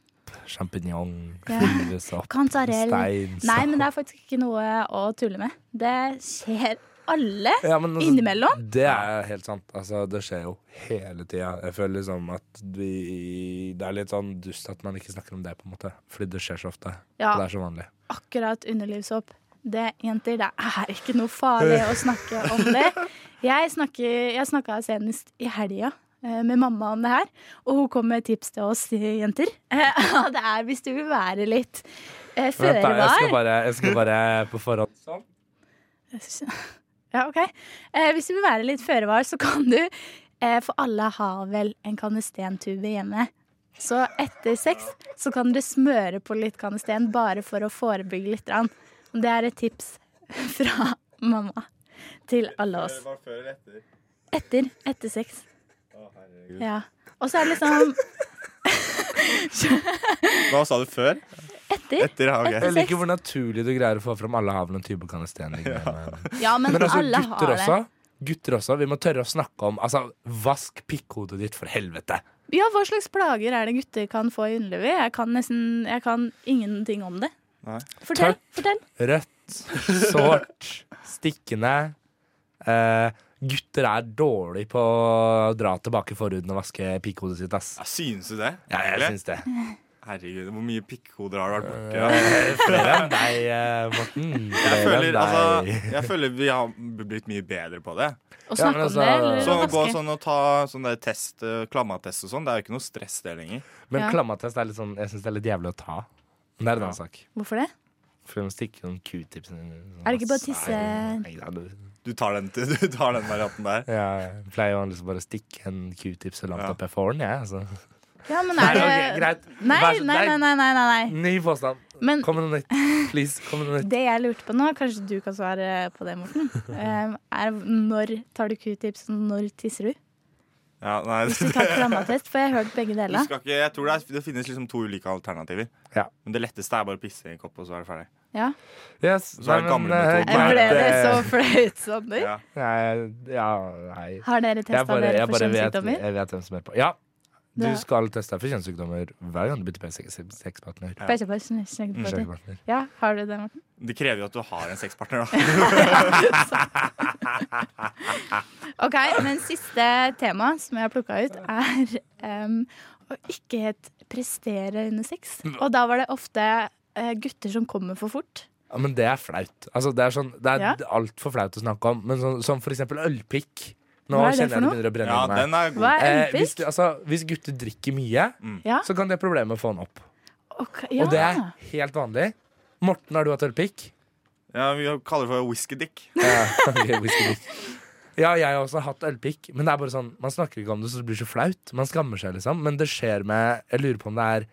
sjampinjong,
Ja.
fuglesopp,
Kantarell.
steinsopp
Nei, men det er faktisk ikke noe å tulle med. Det skjer alle.
Ja, men altså,
Innimellom?
Det er helt sant. Altså, det skjer jo hele tida. Jeg føler liksom at vi, det er litt sånn dust at man ikke snakker om det, på en måte. Fordi det skjer så ofte.
Ja.
Og det er så vanlig.
Akkurat underlivssopp. Det, jenter, det er ikke noe farlig å snakke om det. Jeg, snakker, jeg snakka senest i helga eh, med mamma om det her, og hun kom med tips til oss eh, jenter. Eh, og Det er hvis du vil være litt eh, føre
Vent da, jeg skal
var.
bare, jeg skal bare på forhånd sånn.
Ja, ok. Eh, Hvis du vil være litt føre var, så kan du eh, For alle har vel en kanestentube hjemme. Så etter sex så kan dere smøre på litt kanesten bare for å forebygge litt. grann. Og Det er et tips fra mamma til alle oss.
Var før eller etter?
Etter. Etter sex. Ja. Og så er det liksom
Hva sa du før?
etter.
Etter, ja, ok.
Jeg liker hvor naturlig du greier å få fram alle har vel en type kanesten. liggende.
Ja, men,
Men altså,
alle
gutter
har det.
også. Gutter også. Vi må tørre å snakke om Altså, vask pikkhodet ditt, for helvete!
Ja, hva slags plager er det gutter kan få i underlivet? Jeg kan nesten Jeg kan ingenting om det.
Nei.
Fortell.
Takk.
fortell.
Rødt, sårt, stikkende. Eh, gutter er dårlig på å dra tilbake forhuden og vaske pikkhodet sitt, ass.
Ja, synes du det?
Ja, jeg
Eller?
syns det.
Herregud, hvor mye pikkhoder har du vært borti? Ja.
Eh, Flere enn deg, eh, Morten.
Jeg
Flere enn
føler, altså,
deg.
jeg føler vi har blitt mye bedre på det.
Å
Ja,
snakke
men altså-
om det, eller
Så å
å
gå
vaske?
sånn og ta sånn der test, eh, klammatest og sånn, det er jo ikke noe stress det lenger.
Men
Ja.
klammatest er litt sånn Jeg syns det er litt jævlig å ta. Men det er en annen sak.
Hvorfor det?
For de stikker noen q-tips inn i-
Er det ikke bare
Nei,
tisse-
nei, ja, du-
Du tar den, til- du tar den varianten der.
Ja, jeg pleier jo liksom bare å stikke en q-tip så langt
Ja.
opp jeg får den, jeg. altså.
Ja, men er det
Nei, ok, greit.
Nei,
Vær så-
nei, nei, nei, nei, nei.
Ny påstand.
Men
Kom med noe nytt. Please, kom med noe nytt.
det jeg lurte på nå, kanskje du kan svare på det, Morten, eh, er når tar du q-tips, og når tisser du?
Ja, nei,
Hvis du
det,
tar klammatest, for jeg har hørt begge
du
deler.
skal ikke, jeg tror det, er, det finnes liksom to ulike alternativer.
Ja.
Men det letteste er bare å pisse i en kopp, og så er det ferdig.
Ja.
Yes.
Så er det gamle
eh,
metoden.
Jeg ble
greit,
det
eh,
så flaut, Sander.
Ja.
Nei, ja, nei.
Har dere
Jeg
testa
bare,
dere
jeg
for
bare vet,
kjønnssykdommer?
jeg vet hvem som er på. Ja, du
Ja.
skal teste deg for kjønnssykdommer hver gang du bytter sex- sexpartner.
Ja.
Bare- bare snakk- snakk
Mm,
på det.
Kjønnssykdommer.
Ja, har du det, Morten?
Det krever jo at du har en sexpartner, da.
OK, men siste tema som jeg har plukka ut, er em, å ikke helt prestere under sex. Og da var det ofte eh, gutter som kommer for fort.
Ja, men det er flaut. Altså, det er, sånn, det er
Ja.
altfor flaut å snakke om. Men sånn, som for eksempel ølpikk. Nå
Hva er
kjenner
det
jeg
for
det
noe?
begynner å brenne
Ja,
i meg.
den er god.
Hva er
Eh, hvis,
ølpisk?
du- altså, hvis gutter drikker mye,
Mm.
Ja.
Mm. så kan det problemet få den opp.
Ok, ja.
Og det er helt vanlig. Morten, har du hatt ølpikk?
Ja, vi kaller det for whiskydick.
Ja, ok, whisky dick. ja, jeg har også hatt ølpikk, men det er bare sånn man snakker ikke om det, så det blir så flaut. Man skammer seg, liksom. Men det skjer med Jeg lurer på om det er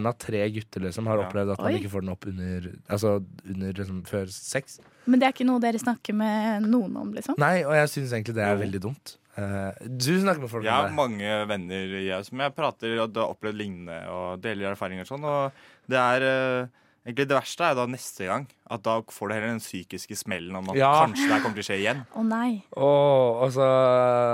én av tre gutter liksom har
Ja.
opplevd at man
Oi.
ikke får den opp under Altså under liksom før sex.
Men det er ikke noe dere snakker med noen om, liksom?
Nei, og jeg syns egentlig det er veldig dumt. Eh, du snakker med folk
Jeg har
om det.
mange venner jeg, som jeg prater og har opplevd lignende og deler erfaringer og sånn. Og det er eh, egentlig det verste er da neste gang. At da får du heller den psykiske smellen om at
Ja.
kanskje det her kommer til å skje igjen.
Å nei.
Og altså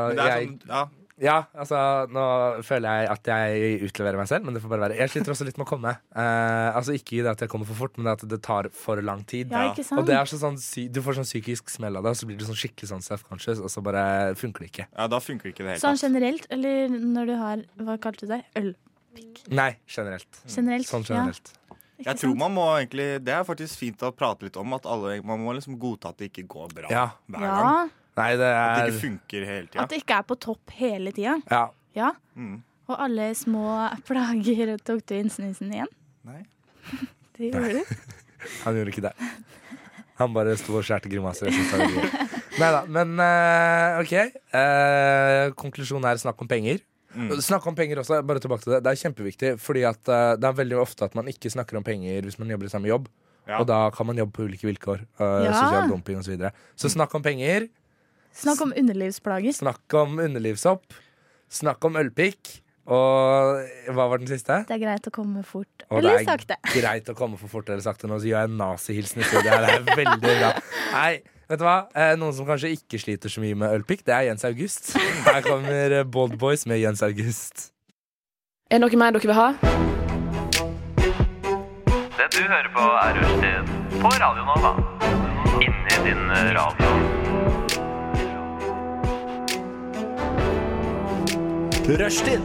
Men det er
jeg,
sånn, ja,
Ja, altså nå føler jeg at jeg utleverer meg selv, men det får bare være. Jeg sliter også litt med å komme. Eh, altså ikke i det at jeg kommer for fort, men det at det tar for lang tid.
Ja,
Ja.
ikke
Og
sant?
det er så sånn, sy- Du får sånn psykisk smell av det, og så blir du sånn skikkelig sånn self-conscious, og så bare funker det ikke.
ja, da funker ikke det helt.
Sånn generelt, eller når du har Hva kalte du det? Øl?
Nei, generelt.
Generelt?
Mm, Sånn generelt.
Ja, ikke
Jeg tror
sant?
man må egentlig, Det er faktisk fint å prate litt om at alle, man må liksom godta at det ikke går bra
Ja.
hver gang.
ja,
Nei, det
At det
er
ikke funker hele tida.
At det ikke er på topp hele tida.
Ja.
Ja.
Mm.
Og alle små plager Tok du inn snusen igjen?
Nei.
Det gjorde du.
Han gjorde ikke det. Han bare sto og skjærte grimaser. Jeg synes det var gøy. Neida, men eh, OK. Eh, konklusjonen er snakk om penger. Snakk om penger også, bare tilbake til det. Det er kjempeviktig, fordi at eh, det er veldig ofte at man ikke snakker om penger hvis man jobber i samme jobb.
Ja.
Og da kan man jobbe på ulike vilkår. eh,
Ja.
Sosial dumping osv. Så, videre. så snakk om penger.
Snakk om underlivsplager.
Snakk om underlivshopp. Snakk om ølpikk. Og hva var den siste?
Det er greit å komme fort.
Og
Eller
det er
sakte.
greit å komme for fort eller sakte nå, så gjør jeg en nazihilsen i studio. her. Det er veldig bra. Nei, vet du hva? Eh, Noen som kanskje ikke sliter så mye med ølpikk, det er Jens August. Her kommer eh, Bold Boys med Jens August.
Er det noe mer dere vil ha?
Det du hører på er Rushtid på Radio Nova. Inni din eh, radio.
Rushtid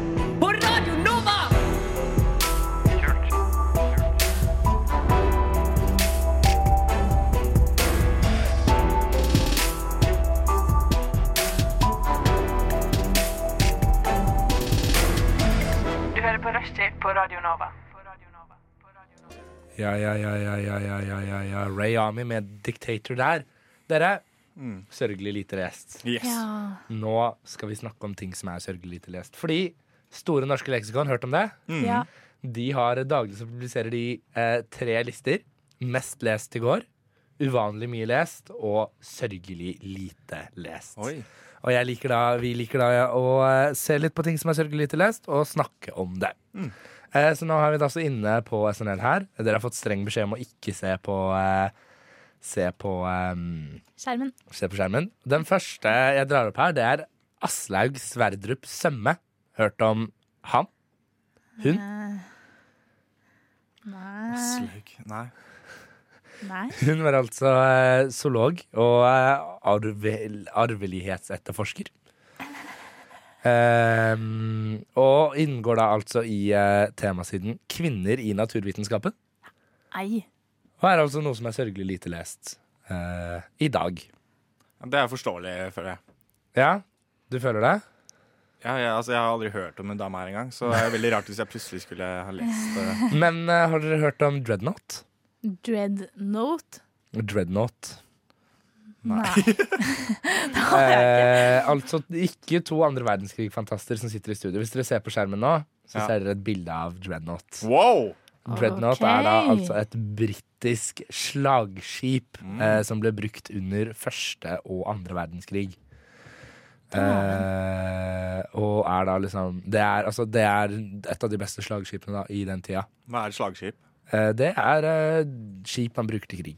Du hører på Rushtid på Radio Nova.
Ja, ja, ja, ja, ja, ja, ja, ja, ja. Ray Army med Dictator der. Dere, sørgelig lite lest.
Yes.
Ja.
Nå skal vi snakke om ting som er sørgelig lite lest. Fordi Store norske leksikon, hørt om det?
ja.
De har daglig så publiserer de eh, tre lister. Mest lest i går, uvanlig mye lest og sørgelig lite lest.
Oi.
Og jeg liker da, vi liker da å eh, se litt på ting som er sørgelig lite lest, og snakke om det. Eh, så nå har vi det altså inne på SNL her. Dere har fått streng beskjed om å ikke se på eh, Se på eh,
Skjermen.
Se på skjermen. Den første jeg drar opp her, det er Aslaug Sverdrup Sømme. Hørt om han? Hun?
Nei.
Slaug. Nei.
Nei.
Hun var altså eh, zoolog og eh, arve, arvelighetsetterforsker. Ehm, og inngår da altså i eh, temasiden 'Kvinner i naturvitenskapen'.
Nei.
Og er altså noe som er sørgelig lite lest eh, i dag.
Det er forståelig, føler jeg.
Ja, du føler det?
Ja, ja, altså, jeg har aldri hørt om en dame her engang, så det er veldig rart hvis jeg plutselig skulle ha lest eh,
Men eh, har dere hørt om Dreadnought?
Dreadnought.
Dreadnought.
Nei.
Eh, altså ikke to andre verdenskrig-fantaster som sitter i studio. Hvis dere ser på skjermen nå, så
Ja.
ser dere et bilde av Dreadnought.
Wow!
Dreadnought
Ok.
er da altså et britisk slagskip eh, som ble brukt under første og andre verdenskrig. Eh, og er da liksom det er, altså, det er et av de beste slagskipene da, i den tida.
Hva er et slagskip?
Eh, det er eh, skip man bruker til krig.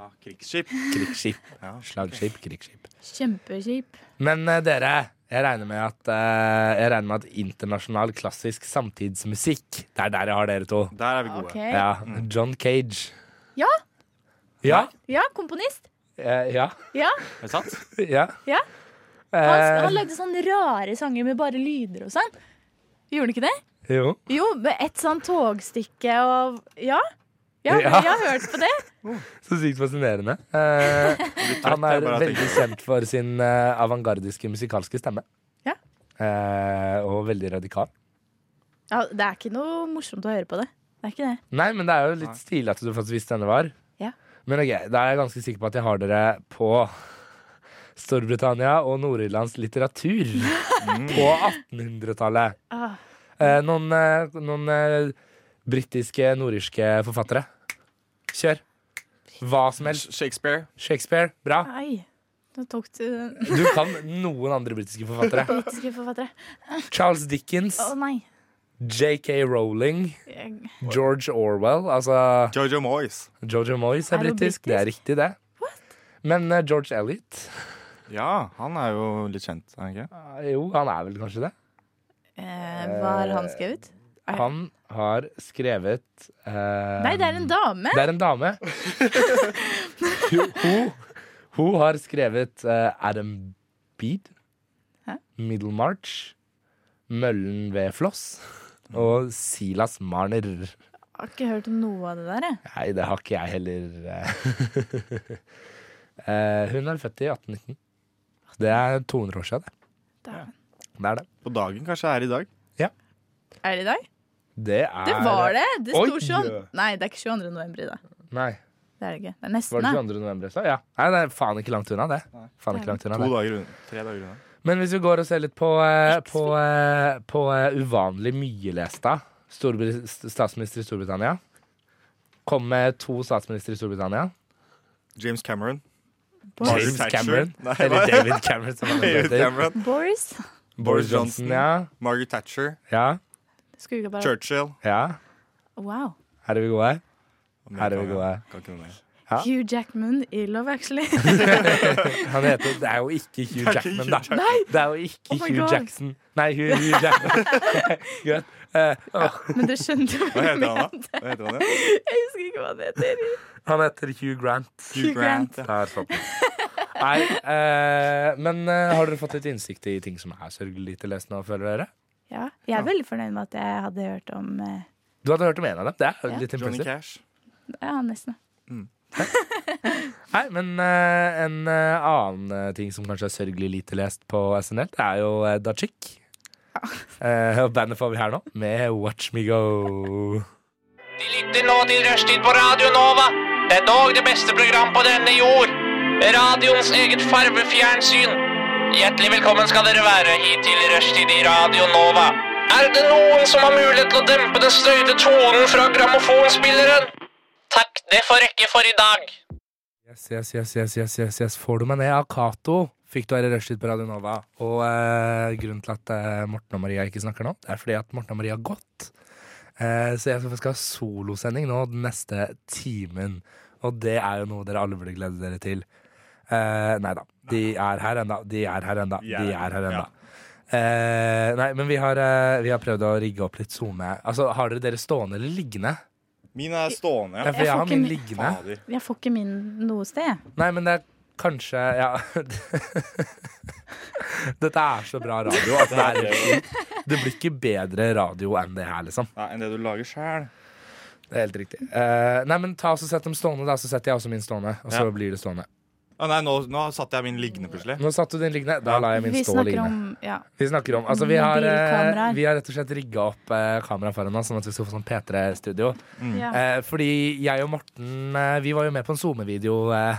Ja, krigsskip.
Krigsskip.
Ja.
Slagskip, krigsskip.
Kjempekjip.
Men eh, dere, jeg regner med at, eh, jeg regner med at internasjonal klassisk samtidsmusikk Det er der jeg har dere to.
Der er vi gode.
OK. Ja.
Ja, John Cage.
Ja.
Ja.
komponist.
Eh, ja.
Ja.
Er det sant?
ja.
Ja. Han, han
Eh,
lagde sånne rare sanger med bare lyder og sånn. Gjorde han ikke det?
jo.
Jo, med et sånn togstykke og Ja. Ja,
Ja.
jeg har hørt på det.
Så sykt fascinerende. Eh, han
jeg
er
bare tenker
veldig kjent for sin eh, avantgardiske musikalske stemme.
Ja.
Eh, og veldig radikal.
Ja, det er ikke noe morsomt å høre på det. Det er ikke det.
Nei, men det er jo litt stilig at du faktisk visste hvem det var.
Ja.
Men ok, da er jeg ganske sikker på at jeg har dere på Storbritannia og Nord-Irlands litteratur på 1800-tallet.
Ah.
Eh, noen eh, noen eh, britiske, nordirske forfattere. Kjør. Hva som helst.
Shakespeare.
Shakespeare. Bra.
Nei. Nå tok du
Du kan noen andre britiske forfattere.
britiske forfattere.
Charles Dickens,
Å nei.
JK Rowling,
Jeg-
George Orwell. Altså
Jojo Moyes.
Jojo Moyes er
Er hun
britisk. Det er riktig, det. Men eh, George Elliot
Ja, han er jo litt kjent, er han ikke?
eh, Jo, han er vel kanskje det.
Eh, hva har han skrevet? Nei.
Han har skrevet eh,
Nei, det er en dame.
Det er en dame. hun, hun, hun har skrevet eh, Adam Bede,
Hæ?
Middlemarch, Møllen ved Floss og Silas Marner.
Jeg har ikke hørt om noe av det der. jeg.
Nei, det har ikke jeg heller. eh. Eh, hun er født i 1819. Det er 200 år siden, det.
Dæven.
Det er det.
På dagen kanskje er i dag.
Er det i dag?
Det, er,
Det var det! Det
Oi.
sto 22. Nei, det er ikke 22. november i dag.
Nei,
Det er det ikke. Det er nesten,
var det
da.
22. november? jeg sa? Ja. Nei, det er faen ikke langt unna, det. Faen ikke langt unna
To
det.
dager unna. Tre dager unna.
Men hvis vi går og ser litt på, eh, på, eh, på eh, uvanlig mye lest da Storbr- st- Statsminister i Storbritannia Kom med to statsminister i Storbritannia
James Cameron.
Boris
Thatcher.
Cameron
Nei,
Eller
hva?
David Cameron, som han
David
heter.
Cameron.
Boris.
Boris Johnson, ja.
Margaret Thatcher,
Ja,
Skulle ikke bare
Churchill
ja.
Wow.
Her er vi gode her. Her er vi gode.
Kan ikke noe mer.
Ja.
Hugh Jackman i Love Actually.
Han heter Det er jo ikke Hugh
Det er ikke
Jackman,
Hugh
da.
Jackman.
Nei. Det er jo ikke
Oh my
Hugh
God.
Jackson. Nei, Hugh, Hugh Jackman. Greit. Eh, åh,
Men dere skjønte jo
Hva
hva jeg
heter han,
mente.
da? Hva heter han, ja?
Jeg husker ikke hva han heter.
han heter Hugh Grant.
Hugh Grant.
ja.
Der satt den. Nei, eh, men eh, har dere fått litt innsikt i ting som er sørgelig til lest nå, føler dere?
Ja, jeg er veldig fornøyd med at jeg hadde hørt om eh,
Du hadde hørt om en av dem. Det er
Ja.
litt
Johnny
impressive.
Cash.
Ja, nesten.
Nei, men eh, en eh, annen eh, ting som kanskje er sørgelig lite lest på SNL, det er jo eh, Da Chick. Eh, og bandet får vi her nå, med Watch Me Go.
De lytter nå til Rushtid på Radio Nova. Det er dog det beste program på denne jord. Radioens eget farvefjernsyn. Hjertelig velkommen skal dere være hit til Rushtid i Radio Nova. Er det noen som har mulighet til å dempe den støyte tonen fra grammofonspilleren? Takk, det får rekke for i dag.
Yes, yes, yes, yes, yes, yes, yes. Får du meg ned av Cato? Fikk du være rushtid på Radio Nova. Og eh, grunnen til at eh, Morten og Maria ikke snakker nå, det er fordi at Morten og Maria har gått. Eh, så jeg skal faktisk ha solosending nå den neste timen. Og det er jo noe dere alle burde glede dere til. Eh, nei da. De er her ennå. De er her ennå. De er her ennå. Eh, nei, men vi har, eh, vi har prøvd å rigge opp litt SoMe. Altså, har dere dere stående eller liggende?
Min er stående,
Ja,
ja.
for jeg
får
har
ikke
min
mi-
liggende.
Fader.
Jeg får ikke min noe sted.
Nei, men det er kanskje Ja. Dette er så bra radio
altså,
at det er helt sjukt. Det blir ikke bedre radio enn det her, liksom.
Nei, enn det du lager sjæl.
Det er helt riktig. Eh, nei, men ta og så Sett dem stående, da. Så setter jeg også min stående. Og så
Ja.
blir det stående.
Å nei, nå, nå satte jeg min liggende plutselig.
Nå satte du din liggende. Da lar jeg min
Vi
stå
snakker
liggende.
om ja,
Vi snakker om Altså, vi har, eh,
Mobilkameraer.
vi har rett og slett rigga opp eh, kameraet foran oss, sånn at vi skal få sånn P3-studio.
ja.
Eh, fordi jeg og Morten eh, Vi var jo med på en SoMe-video eh,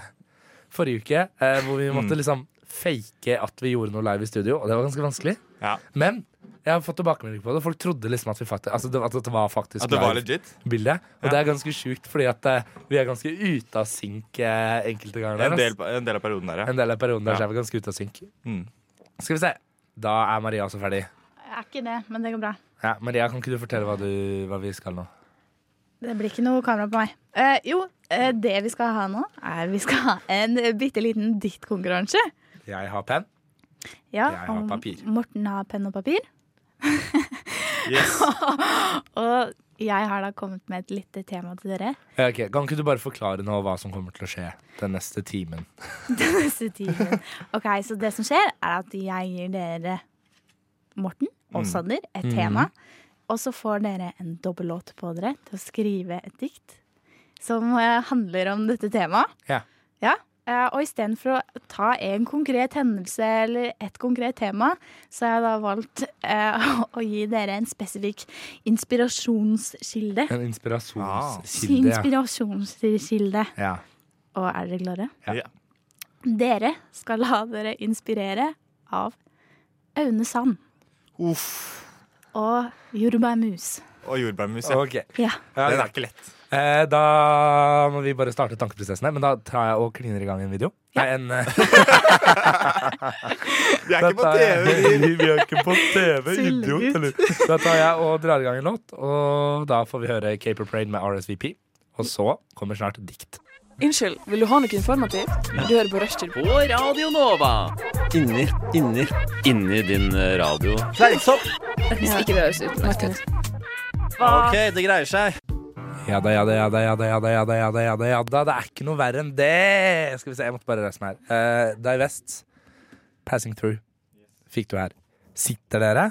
forrige uke eh, hvor vi måtte liksom fake at vi gjorde noe live i studio, og det var ganske vanskelig.
Ja.
Men jeg har fått tilbakemelding på det. Folk trodde liksom at, vi faktisk, altså, det, at det var faktisk
At det var legit?
live-bilde. Og
Ja.
det er ganske sjukt, fordi at eh, vi er ganske ute av synk eh, enkelte ganger.
En
der,
del,
ass.
en del av perioden der, ja.
en del av perioden der
Ja.
så er vi ganske ute av synk.
Mm.
Skal vi se. Da er Maria også ferdig.
Jeg er ikke det, men det går bra.
Ja, Maria, kan ikke du fortelle hva, du, hva vi skal nå?
Det blir ikke noe kamera på meg. Eh, jo, eh, det vi skal ha nå, er vi skal ha en bitte liten diktkonkurranse.
Jeg har penn.
Ja,
Jeg har
og
papir.
Morten har penn og papir.
Yes.
Og jeg har da kommet med et lite tema til dere.
Ja, ok. Kan ikke du bare forklare nå hva som kommer til å skje den neste timen?
Neste timen. Ok, Så det som skjer, er at jeg gir dere, Morten og Sander, et tema. Og så får dere en dobbellåt på dere til å skrive et dikt som eh, handler om dette temaet.
Ja.
Ja, eh, Og istedenfor å ta en konkret hendelse eller et konkret tema, så har jeg da valgt eh, å gi dere en spesifikk inspirasjonskilde.
En inspirasjonskilde.
Inspirasjonskilde.
Ja. Ja.
Og er dere klare?
Ja.
Ja.
Dere skal la dere inspirere av Aune Sand
Uff.
og Jordbær Mus.
Og jordbærmus. Ja.
Ok.
Ja.
Ja,
Den
ja.
er ikke lett.
Eh, da må vi bare starte tankeprosessen her, men da tar jeg og kliner i gang en video. Nei, en eh,
Vi er
da
ikke på
tar jeg-
TV! vi.
Vi er ikke på TV,
Tullegutt.
idiot. Eller? Da tar jeg og drar i gang en låt, og da får vi høre Caper Parade med RSVP. Og så kommer snart dikt.
Unnskyld, vil du ha noe informativt? Du hører på Rushtid.
På Radio Nova.
Inni, inni. Inni din eh, radio.
Hvis ikke det høres ut som et kutt.
Ok, det greier seg.
Ja da, ja da, ja da, ja da, ja da, ja da, ja da, ja da, ja da. Det er ikke noe verre enn det! Skal vi se, jeg måtte bare reise meg her. Uh, Divest, Passing Through, fikk du her. Sitter dere?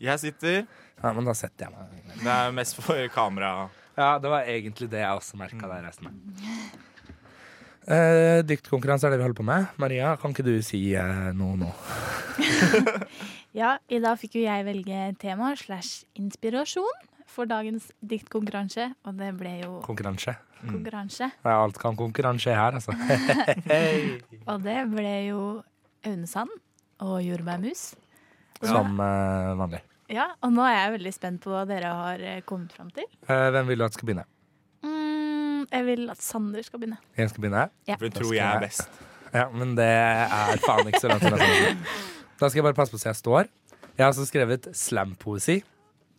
Jeg sitter
Ja, men da setter jeg meg.
Det er mest for kamera.
Ja, det var egentlig det jeg også merka da jeg reiste meg. Eh, dyktkonkurranse er det vi holder på med. Maria, kan ikke du si eh, noe nå?
ja, I dag fikk jo jeg velge tema slash inspirasjon for dagens diktkonkurranse, og det ble jo
Konkurranse.
Mm. konkurranse.
Ja, alt kan konkurranse her, altså.
Og det ble jo Aune Sand og Jordbær Mus.
Som eh, vanlig.
Ja, og nå er jeg veldig spent på hva dere har eh, kommet fram til.
Eh, hvem vil du at skal begynne?
Mm, jeg vil at Sander skal begynne.
Jeg skal begynne.
For hun tror jeg er best.
Ja, men det er faen ikke så langt unna. sånn. Da skal jeg bare passe på så jeg står. Jeg har også skrevet slampoesi,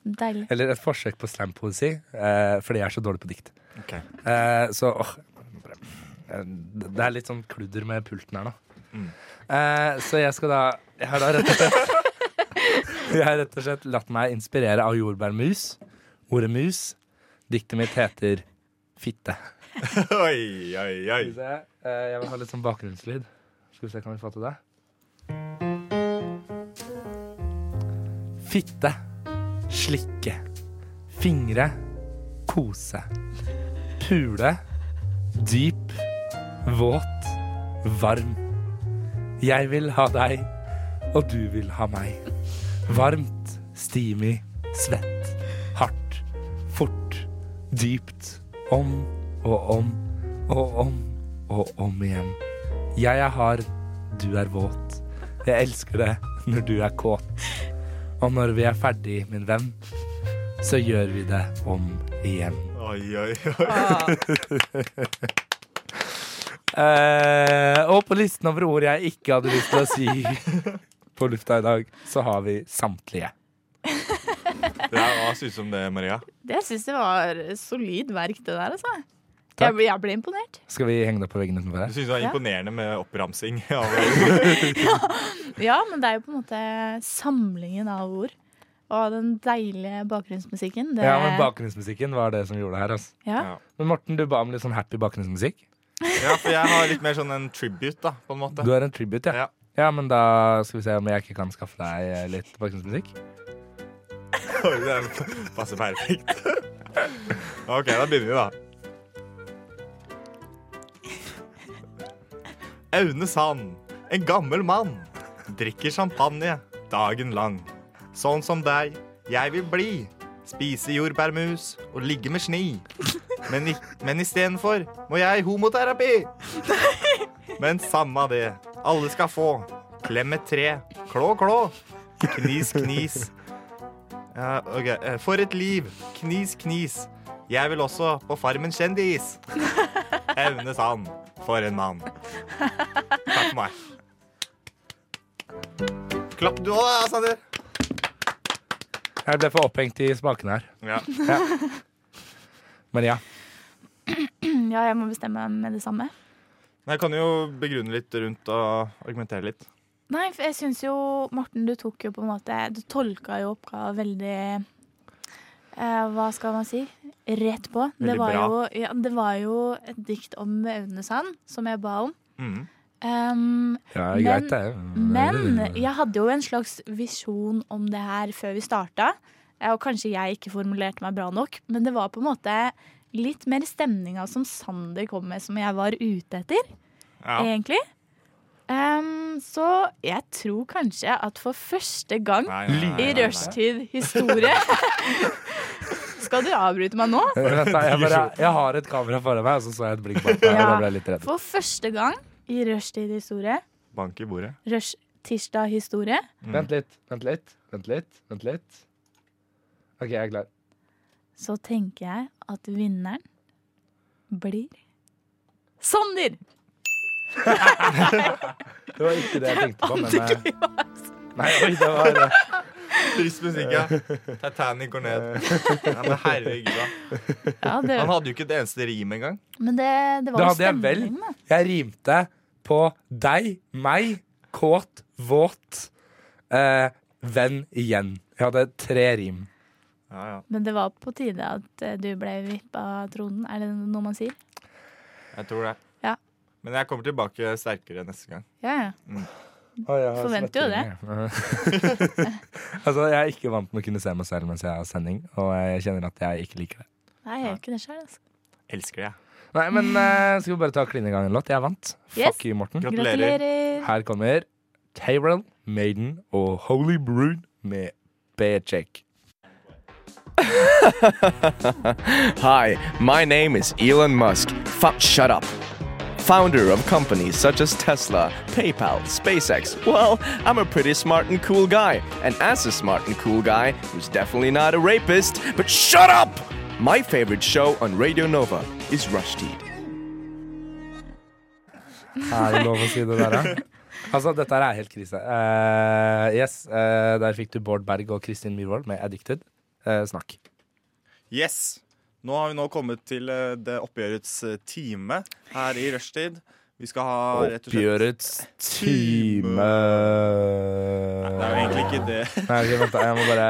Deilig.
eller et forsøk på slampoesi, eh, fordi jeg er så dårlig på dikt.
Ok.
Eh, så åh, eh, Det er litt sånn kludder med pulten her nå. Eh, så jeg skal da Jeg har da rett og slett Jeg har rett og slett latt meg inspirere av jordbærmus. Ordet mus. Diktet mitt heter Fitte.
Oi, oi, oi.
Skal vi se. Eh, jeg vil ha litt sånn bakgrunnslyd. Skal vi se, kan vi få til det? Fitte. Slikke. Fingre. Kose. Pule. Dyp. Våt. Varm. Jeg vil ha deg, og du vil ha meg. Varmt. Stimi. Svett. Hardt. Fort. Dypt. Om og om og om og om igjen. Jeg er hard, du er våt. Jeg elsker det når du er kåt. Og når vi er ferdig, min venn, så gjør vi det om igjen.
Oi, oi, oi.
Eh, og på listen over ord jeg ikke hadde lyst til å si på lufta i dag, så har vi samtlige.
Det her var ut som det, Maria.
Det syns jeg var solid verk, det der, altså.
Takk.
Jeg, ble- jeg ble imponert.
Skal vi henge det opp på veggen utenfor
Du
her?
synes det var
Ja.
imponerende med oppramsing. av-
Ja, men det er jo på en måte samlingen av ord. Og den deilige bakgrunnsmusikken. Det,
Ja, men bakgrunnsmusikken var det som gjorde det her. Altså.
ja.
Ja.
Men Morten, du ba om litt sånn happy bakgrunnsmusikk.
Ja, for jeg har litt mer sånn en tribute, da, på en måte.
Du er en tribute, ja.
Ja.
Ja, men da skal vi se om jeg ikke kan skaffe deg eh, litt bakgrunnsmusikk.
Oi, det passer perfekt. OK, da begynner vi, da. Aune Sand, en gammel mann, drikker champagne dagen lang. Sånn som deg, jeg vil bli. Spise jordbærmus og ligge med sni. Men, i, men istedenfor må jeg i homoterapi. Men samme det, alle skal få. Klem et tre. Klå, klå. Knis, knis. Ja, ok. Eh, For et liv. Knis, knis. Jeg vil også på Farmen kjendis. Aune Sand. For en mann. Takk for meg. Klapp du òg, da, Sander.
Jeg ble for opphengt i smakene her.
Ja.
Men ja.
ja, jeg må bestemme meg med det samme.
Men jeg kan jo begrunne litt rundt og argumentere litt.
Nei, for jeg syns jo, Morten, du tok jo på en måte Du tolka jo oppgaven veldig eh, Hva skal man si? Rett på. Det
Veldig
var,
bra.
jo, ja, det var jo et dikt om Aune Sand, som jeg ba om.
Mhm.
Um,
ja
Men-
greit, det. Mm.
men jeg hadde jo en slags visjon om det her før vi starta. eh, Og kanskje jeg ikke formulerte meg bra nok, men det var på en måte litt mer stemninga som Sander kom med, som jeg var ute etter
Ja.
egentlig. Ehm, så jeg tror kanskje at for første gang
Nei, nei, nei,
i
nei, nei.
rushtid historie Skal du avbryte meg nå?
Vent da, jeg, bare, jeg har et kamera foran meg, og så så jeg et blikk bak meg. Og da
Ja.
ble jeg litt redd.
For første gang i rushtid historie,
Bank i bordet.
rushtirsdag historie,
Vent litt, vent litt, vent litt. vent litt OK, jeg er klar.
så tenker jeg at vinneren blir Sander!
Det var ikke det jeg tenkte på, men eh, Nei, oi, det var det.
Trist musikk, ja. Titanic går ned. Ja, men herregud, da.
Ja, det,
Han hadde jo ikke et eneste rim engang.
men det, det var
Det
jo
hadde jeg vel.
stemningen, da.
eh, Jeg rimte på deg, meg, kåt, våt, eh, venn igjen. Jeg hadde tre rim.
Ja, ja.
Men det var på tide at eh, du ble vippa av tronen. Er det noe man sier?
Jeg tror det.
Ja.
Men jeg kommer tilbake sterkere neste gang.
Ja, ja. Forventer jo det.
altså, jeg er ikke vant med å kunne se meg selv mens jeg har sending, og jeg kjenner at jeg ikke liker det.
Nei, jeg gjør ikke det sjøl, altså.
Elsker det, jeg.
Nei, men eh, skal vi bare ta kline i gang en låt? Jeg vant.
Yes.
Fuck you, Morten.
Gratulerer.
Gratulerer.
Her kommer Tyrell, Maiden og Holy Brood med B-check.
Hi, my name is Elon Musk. Fu- shut up. Founder of companies such as Tesla, PayPal, SpaceX. Well, I'm a pretty smart and cool guy. And as a smart and cool guy, who's definitely not a rapist, but shut up! My favorite show on Radio Nova is Rushdie.
Er det lov å si det der, da? Altså, dette her er helt krise. Eh, yes, eh, der fikk du Bård Berg og Kristin Myhrvold med 'Addicted'. Eh, snakk.
Yes! Nå har vi nå kommet til eh, det oppgjørets eh, time her i rushtid. Vi skal ha rett og slett
Oppgjørets time
Det er jo egentlig ikke det.
Nei, ok, vent, da. Jeg må bare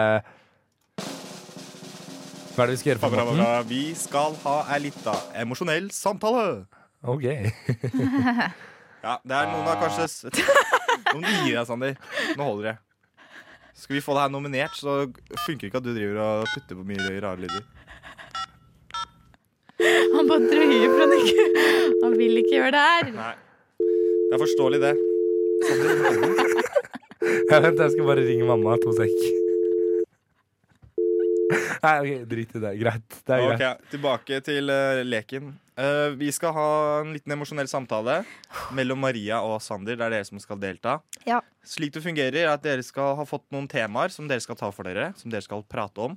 Hva er det vi skal gjøre på
Bra, bra,
måten?
bra. Vi skal ha ei lita emosjonell samtale.
OK.
Ja, det er noen av kanskje s- Noen gir deg, Sander. Nå holder det. Skal vi få deg nominert, så funker det ikke at du driver og putter på mye rare lyder.
Han bare drøyer for han ikke Han vil ikke gjøre det her.
Nei. Det er forståelig, det.
Ja, vent, jeg skal bare ringe mamma. To sek. Nei, ok, drit i det. Greit. Det er
Ok,
greit.
Tilbake til eh, leken. Eh, vi skal ha en liten emosjonell samtale mellom Maria og Sander. Det er dere som skal delta.
Ja.
Slik det fungerer er at dere skal ha fått noen temaer som dere skal ta for dere, som dere skal prate om.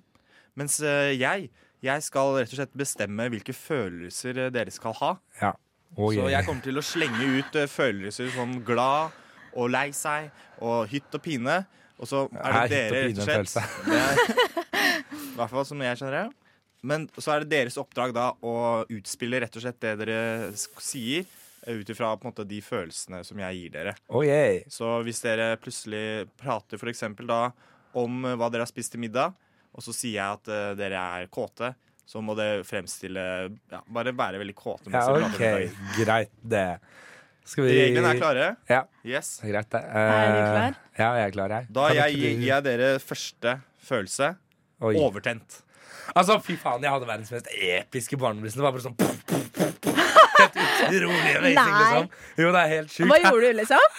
Mens eh, jeg, jeg skal rett og slett bestemme hvilke følelser eh, dere skal ha.
Ja. Å,
Så
yeah.
jeg kommer til å slenge ut eh, følelser som glad og lei seg og hytt og pine. Og så er det
Er
dere,
hytt og
rett og slett.
pine
Det er, I hvert fall som jeg skjønner det. Men så er det deres oppdrag da å utspille rett og slett det dere sk- sier, eh, ut ifra på en måte de følelsene som jeg gir dere.
Oh, yeah.
Så hvis dere plutselig prater for eksempel da om eh, hva dere har spist til middag, og så sier jeg at eh, dere er kåte, så må det fremstille ja, Bare være veldig kåte. mens
Ja,
dere prater om
OK.
middagen.
Greit, det. Skal
Reglene er klare?
Ja.
Yes.
Det er Greit, det.
Er
Eh, Ja, jeg er klar, jeg.
Da
Kan
jeg,
ikke
gir
du-
jeg dere første følelse.
Oi.
Overtent.
Altså, fy faen, jeg hadde verdens mest episke barnebrist. Det var bare sånn pff, pff, pff, pff. Helt utrolig amazing,
Nei.
liksom. Jo, det er helt sjukt.
Hva gjorde du, liksom?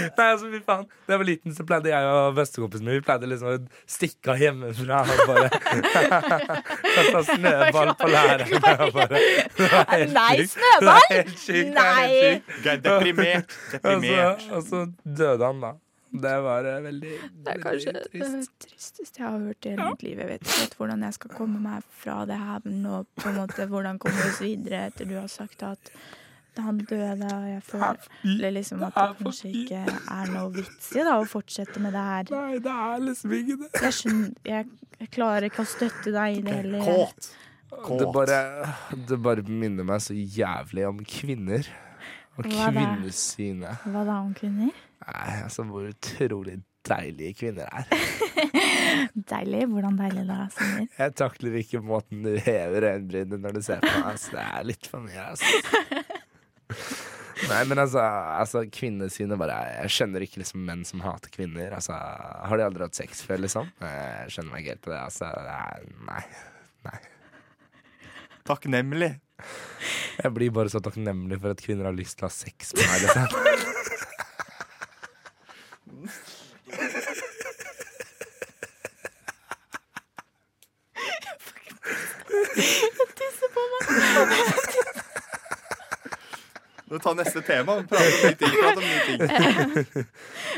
Nei, altså, fy faen. Da jeg var liten, så pleide jeg og bestekompisen min Vi pleide liksom å stikke av hjemmefra og bare kaste snøball på læreren. og bare- Det var helt
Nei,
sjukt.
snøball?
Det er helt sjukt. Det er
Nei.
helt sjukt.
Geir, deprimert.
Altså, Og
Deprimert.
så, og så døde han, da. Det var eh, veldig
Det er kanskje det tristeste jeg har hørt i hele mitt liv. Jeg vet ikke helt hvordan jeg skal komme meg fra det her og på en måte hvordan komme oss videre etter du har sagt at han døde, og jeg føler liksom at det kanskje ikke er noe vits i da, å fortsette med det her.
Nei, det er liksom ikke det.
Jeg, skjønner, jeg, jeg klarer ikke å støtte deg i det heller.
Kåt.
Det
Kåt.
bare, det bare minner meg så jævlig om kvinner. Og
Hva da?
kvinnesynet.
Hva da om kvinner?
Nei, altså hvor utrolig deilige kvinner er.
Deilig. Hvordan deilig da, Sander?
Jeg takler ikke måten du hever øyenbrynene når du ser på meg. Altså, det er litt for mye, altså. Nei, men altså, altså kvinnesynet bare Jeg skjønner ikke liksom menn som hater kvinner. Altså, har de aldri hatt sex før, liksom? Jeg skjønner meg ikke helt på det. Altså, det er- nei.
Takknemlig.
Jeg blir bare så takknemlig for at kvinner har lyst til å ha sex med meg. Liksom.
Nå ta neste tema. Prate om nye ting. Prate om nye ting.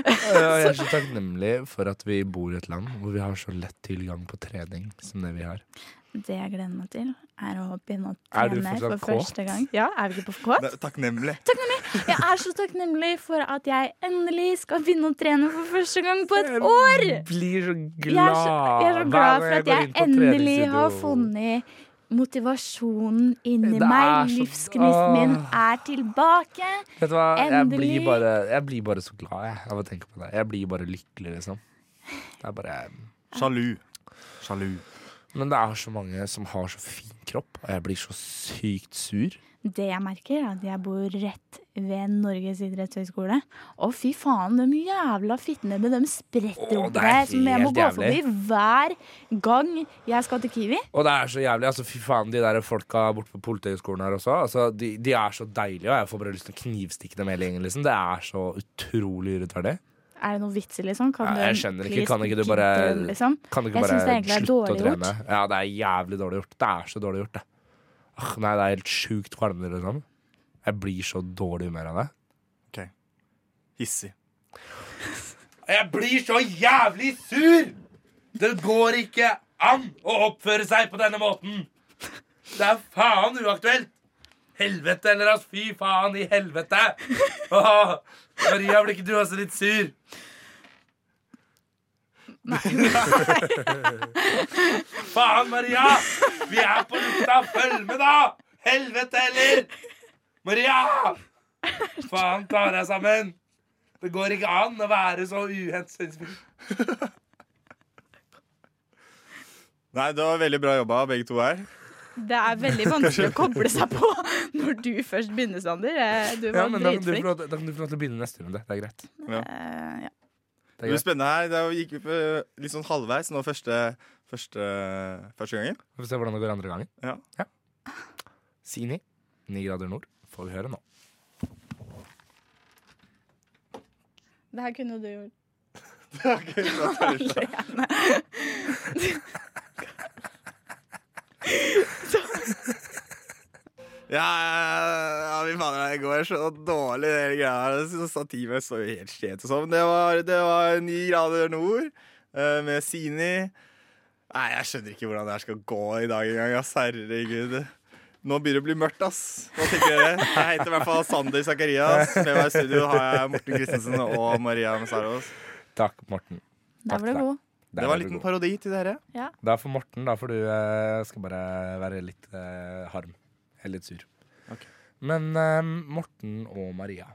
Ja, jeg er så takknemlig for at vi bor i et land hvor vi har så lett tilgang på trening som det vi har.
Det jeg gleder meg til, er å begynne å
Er du
trene for
fortsatt kåt?
første gang. Ja, er vi ikke på kåt?
Det er Takknemlig.
Jeg er så takknemlig for at jeg endelig skal begynne å trene for første gang på et år!
Blir så glad.
Jeg er så, jeg er så glad for at jeg endelig har funnet motivasjonen inni
Det er
meg.
så-
Livsgnisten min
Åh.
er tilbake.
Vet du hva, jeg
Endelig.
blir, bare, jeg blir bare så glad jeg, av å tenke på det. Jeg blir bare lykkelig, liksom. Det er bare
Sjalu. Sjalu.
Men det er så mange som har så fin kropp, og jeg blir så sykt sur.
Det jeg merker, er at jeg bor rett ved Norges idrettshøgskole. Å, fy faen, de jævla fittene de spretter
Åh,
opp
det er
der som jeg må
helt
gå
jævlig.
forbi hver gang jeg skal til Kiwi.
Og det er så jævlig. altså Fy faen, de der folka borte på Politihøgskolen her også. altså de, de er så deilige, og jeg får bare lyst til å knivstikke dem hele gjengen. liksom Det er så utrolig urettferdig.
Er det noe vits i, liksom? Kan
Ja,
du-
jeg skjønner ikke.
please
Kan ikke du
gidde,
bare-
liksom?
Kan du ikke
Jeg
bare
synes det egentlig er
slutte å
dårlig
trene? Ja, det er jævlig dårlig gjort. Det er så dårlig gjort, det. Ah, nei, det er helt sjukt kvalmende, liksom. Jeg blir så dårlig humør av det.
Hissig.
Jeg blir så jævlig sur! Det går ikke an å oppføre seg på denne måten! Det er faen uaktuelt! Helvete, eller altså, fy faen i helvete! Åh, Maria, blir ikke du også litt sur? Nei. faen, Maria! Vi er på lufta! Følg med, da! Helvete heller! Maria! Faen, ta deg sammen! Det går ikke an å være så uhensynsfull.
Nei, det var veldig bra jobba, begge to her.
Det er veldig vanskelig å koble seg på når du først begynner, Sander. Eh, Du var
da, kan du få
dritflink.
lov, da kan du få lov til å begynne neste runde. Det er greit.
Eh, ja.
Det
Det
er
blir
greit.
spennende her. Da gikk vi på litt sånn halvveis nå første, første, første gangen.
Vi får se hvordan det går andre gangen.
Ja.
Sini, 9 grader nord, får vi høre nå.
Det her kunne du gjort. Alene.
Ja, ja, vi fader, det går så dårlig, det hele greia her. Så Stativet står jo helt skjevt og sånn. Det var, det var ni grader nord eh, med Sini. Nei, jeg skjønner ikke hvordan det her skal gå i dag engang, ass. Herregud. Nå begynner det å bli mørkt, ass. Hva tenker dere? Jeg heter i hvert fall Sander Zakarias. Med meg i studio har jeg Morten Christensen og Maria Messaros.
Takk, Morten.
Der var du god.
Det var en liten parodi til dere.
Ja.
Da får Morten, da får du eh, skal bare være litt eh, harm. Eller litt sur. Men eh, Morten og Maria,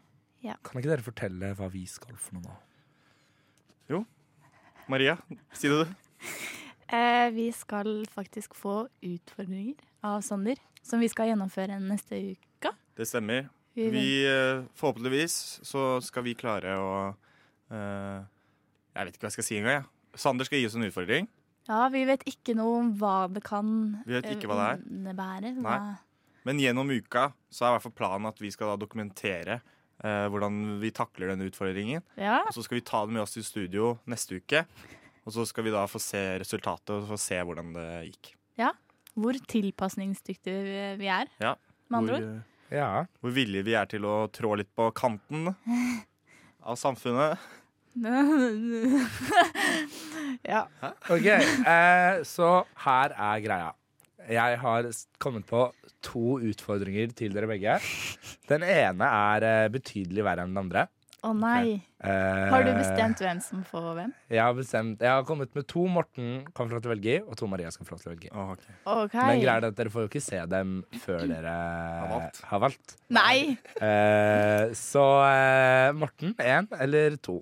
Ja.
kan ikke dere fortelle hva vi skal for noe nå?
Jo. Maria, si det, du.
Eh, vi skal faktisk få utfordringer av Sander, som vi skal gjennomføre neste uke.
Det stemmer.
Vi-
Vi, eh, forhåpentligvis så skal vi klare å eh, Jeg vet ikke hva jeg skal si engang. jeg. Sander skal gi oss en utfordring.
Ja, vi vet ikke noe om hva det kan
Vi vet ikke hva
Eh,
det er.
innebære.
Nei.
Hva-
Men gjennom uka så er i hvert fall planen at vi skal da dokumentere eh, hvordan vi takler denne utfordringen.
Ja.
Og så skal vi ta det med oss til studio neste uke. Og så skal vi da få se resultatet og få se hvordan det gikk.
ja. Hvor tilpasningsdyktige vi- vi er.
Ja.
Med andre
Hvor,
ord.
eh, hvor villige vi er til å trå litt på kanten av samfunnet.
ja.
Ok, eh, så her er greia. Jeg har s- kommet på to utfordringer til dere begge. Den ene er eh, betydelig verre enn den andre.
Å nei.
Eh,
Har du bestemt hvem som får hvem?
Jeg har, bestemt, jeg har kommet med to Morten kan få lov til å velge i, og to Maria skal få lov til å velge i.
Ok.
Men greia er at dere får jo ikke se dem før dere
valgt.
har valgt.
Nei!
Eh, så eh, Morten, én eller to?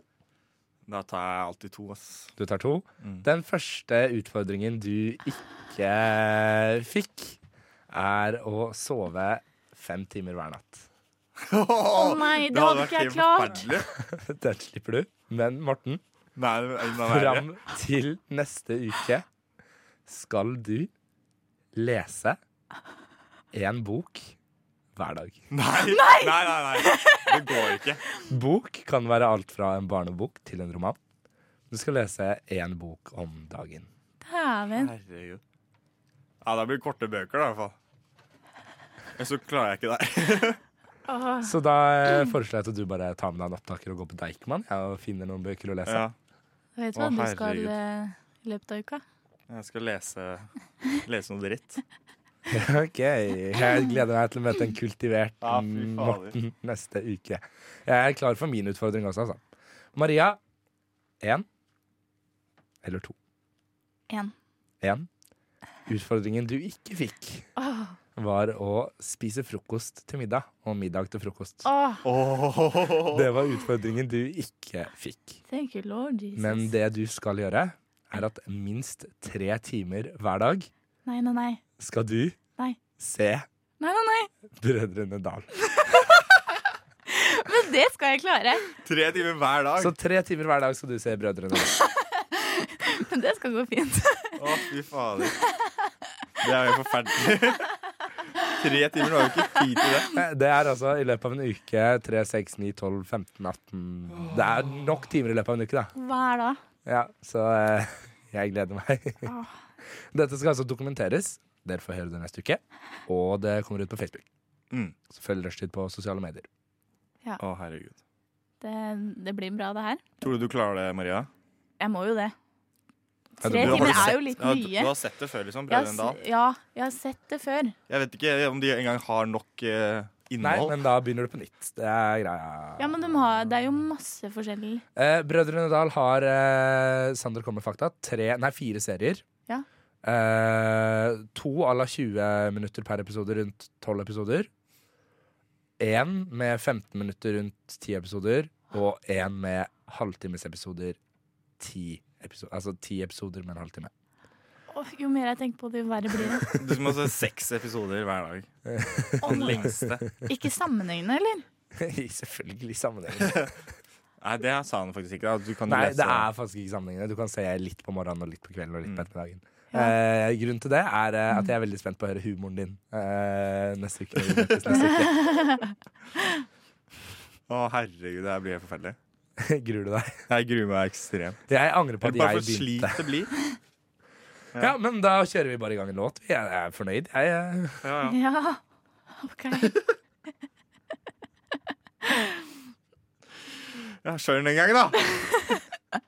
Da tar jeg alltid to, ass.
Du tar to.
Mm.
Den første utfordringen du ikke fikk, er å sove fem timer hver natt.
Å nei, det hadde ikke jeg klart.
Den slipper du. Men Morten,
Nei, det er enda verre.
fram til neste uke skal du lese én bok hver dag.
Nei. Nei! nei, nei, Det går ikke.
Bok kan være alt fra en barnebok til en roman. Du skal lese én bok om dagen.
Dæven.
Herregud. Ja, det blir korte bøker, da, i hvert fall. Men så klarer jeg ikke det.
Åh.
Så da eh, foreslår jeg at du bare tar med deg en opptaker og går på Deichman ja, og finner noen bøker å lese.
Ja.
Vet du
Å,
hva du skal
herregud.
eh, i løpet av uka?
Jeg skal lese, lese noe dritt.
Ok, Jeg gleder meg til å møte en kultivert
Ja, fy fader.
Morten neste uke. Jeg er klar for min utfordring også, altså. Maria én eller to?
Én.
Én. Utfordringen du ikke fikk,
Åh.
var å spise frokost til middag og middag til frokost.
Åh.
Det var utfordringen du ikke fikk.
Thank you, Lord Jesus.
Men det du skal gjøre, er at minst tre timer hver dag
Nei, nei, nei.
skal du
Nei,
se
nei, nei. nei.
Brødrene Dal.
Men det skal jeg klare.
Tre timer hver dag.
Så tre timer hver dag skal du se Brødrene Dal.
Men det skal gå fint.
Å, fy fader. Det er jo forferdelig. Tre timer, du har jo ikke tid til det.
Det er altså i løpet av en uke 3, 6, 9, 12, 15, 18 Det er nok timer i løpet av en uke, da.
Hva er da?
Ja, så eh, jeg gleder meg.
Ah.
Dette skal altså dokumenteres. Dere får høre det neste uke. Og det kommer ut på Facebook.
Mm.
Så følg Rushtid på sosiale medier.
Ja.
Å, herregud.
Det, det blir bra, det her.
Tror du du klarer det, Maria?
Jeg må jo det. Tre timer er jo litt
Ja, du-
mye.
Du har sett det før, liksom?
Jeg har
Brødrene
s-
Dal?
Ja, jeg har sett det før.
Jeg vet ikke om de engang har nok eh,
Nei,
innhold.
men da begynner du på nytt. Det er greia.
Ja, men de har, det er jo masse forskjellig.
Eh, Brødrene Dal har, eh, Sander kommer med fakta, tre, nei, fire serier.
Ja.
Eh, to à la 20 minutter per episode rundt 12 episoder. Én med 15 minutter rundt 10 episoder, og én med halvtimesepisoder 10 episoder. Altså ti episoder med en halvtime.
Åh, jo mer jeg tenker på det, jo verre blir det.
Du må se seks episoder hver dag. Den lengste.
Ikke sammenhengende, eller?
Selvfølgelig sammenhengende.
Nei, det sa han faktisk ikke. Da. Du kan jo
Nei,
lese
det er faktisk ikke sammenhengende. Du kan se litt på morgenen og litt på kvelden og
Mm.
litt på ettermiddagen.
Ja.
Eh, grunnen til det er eh, at jeg er veldig spent på å høre humoren din eh, neste uke. når vi møtes neste uke.
Å, herregud, det her blir helt forferdelig.
Gruer du deg?
Jeg gruer meg ekstremt.
Jeg angrer på at
Bare for
jeg
slik
begynte.
det blir.
Ja. men da kjører vi bare i gang en låt. Jeg er fornøyd. Jeg, eh,
Ja, ja.
Ja, ok.
ja Kjør den en gang, da!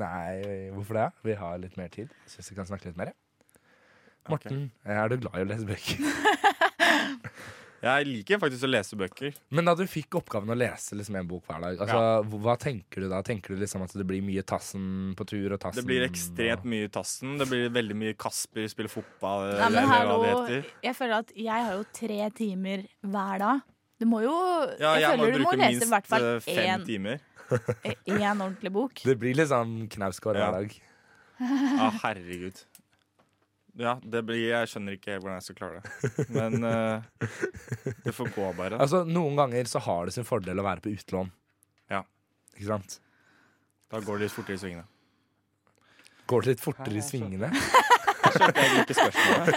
nei, hvorfor det? Vi har litt mer tid. Jeg syns vi kan snakke litt mer. Ja. Morten, er du glad i å lese bøker?
Jeg liker faktisk å lese bøker.
Men da du fikk oppgaven å lese liksom en bok hver dag, altså, hva- hva tenker du da? Tenker du liksom at det blir mye Tassen på tur og Tassen
Det blir ekstremt mye Tassen. Det blir veldig mye Kasper spiller fotball.
Nei, men
eller
hallo,
hva det heter.
jeg føler at jeg har jo tre timer hver dag. Du må jo
Ja,
Jeg
jeg må
føler du må
bruke
lese i hvert
minst
fall
eh, fem
én
timer.
én ordentlig bok.
Det blir litt sånn knausgård
Ja.
hver dag.
Ja, Ah, herregud. Ja, det blir, jeg skjønner ikke hvordan jeg skal klare det. Men eh, det får gå, bare.
Altså, Noen ganger så har det sin fordel å være på utlån.
Ja.
Ikke sant?
Da går det litt fortere i svingene.
Går det litt fortere i svingene?
Jeg liker spørsmålet.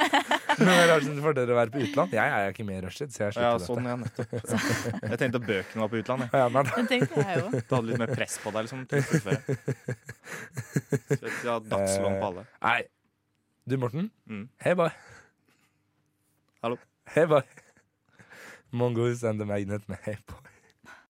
Noen ganger har det sin fordel å være på utlån. Jeg er ikke med i rushtid, så jeg
Ja,
slipper
sånn,
dette.
ja, nettopp. Jeg tenkte at bøkene var på utlandet.
Ja, men,
Det tenkte jeg jo.
Du hadde litt mer press på deg, liksom. til å fullføre. Så jeg har dagslån på alle.
nei. Du, Morten.
Mm.
Hei, boy.
Hallo.
Hei, boy. Mongoose and the Magnet med Hei, boy.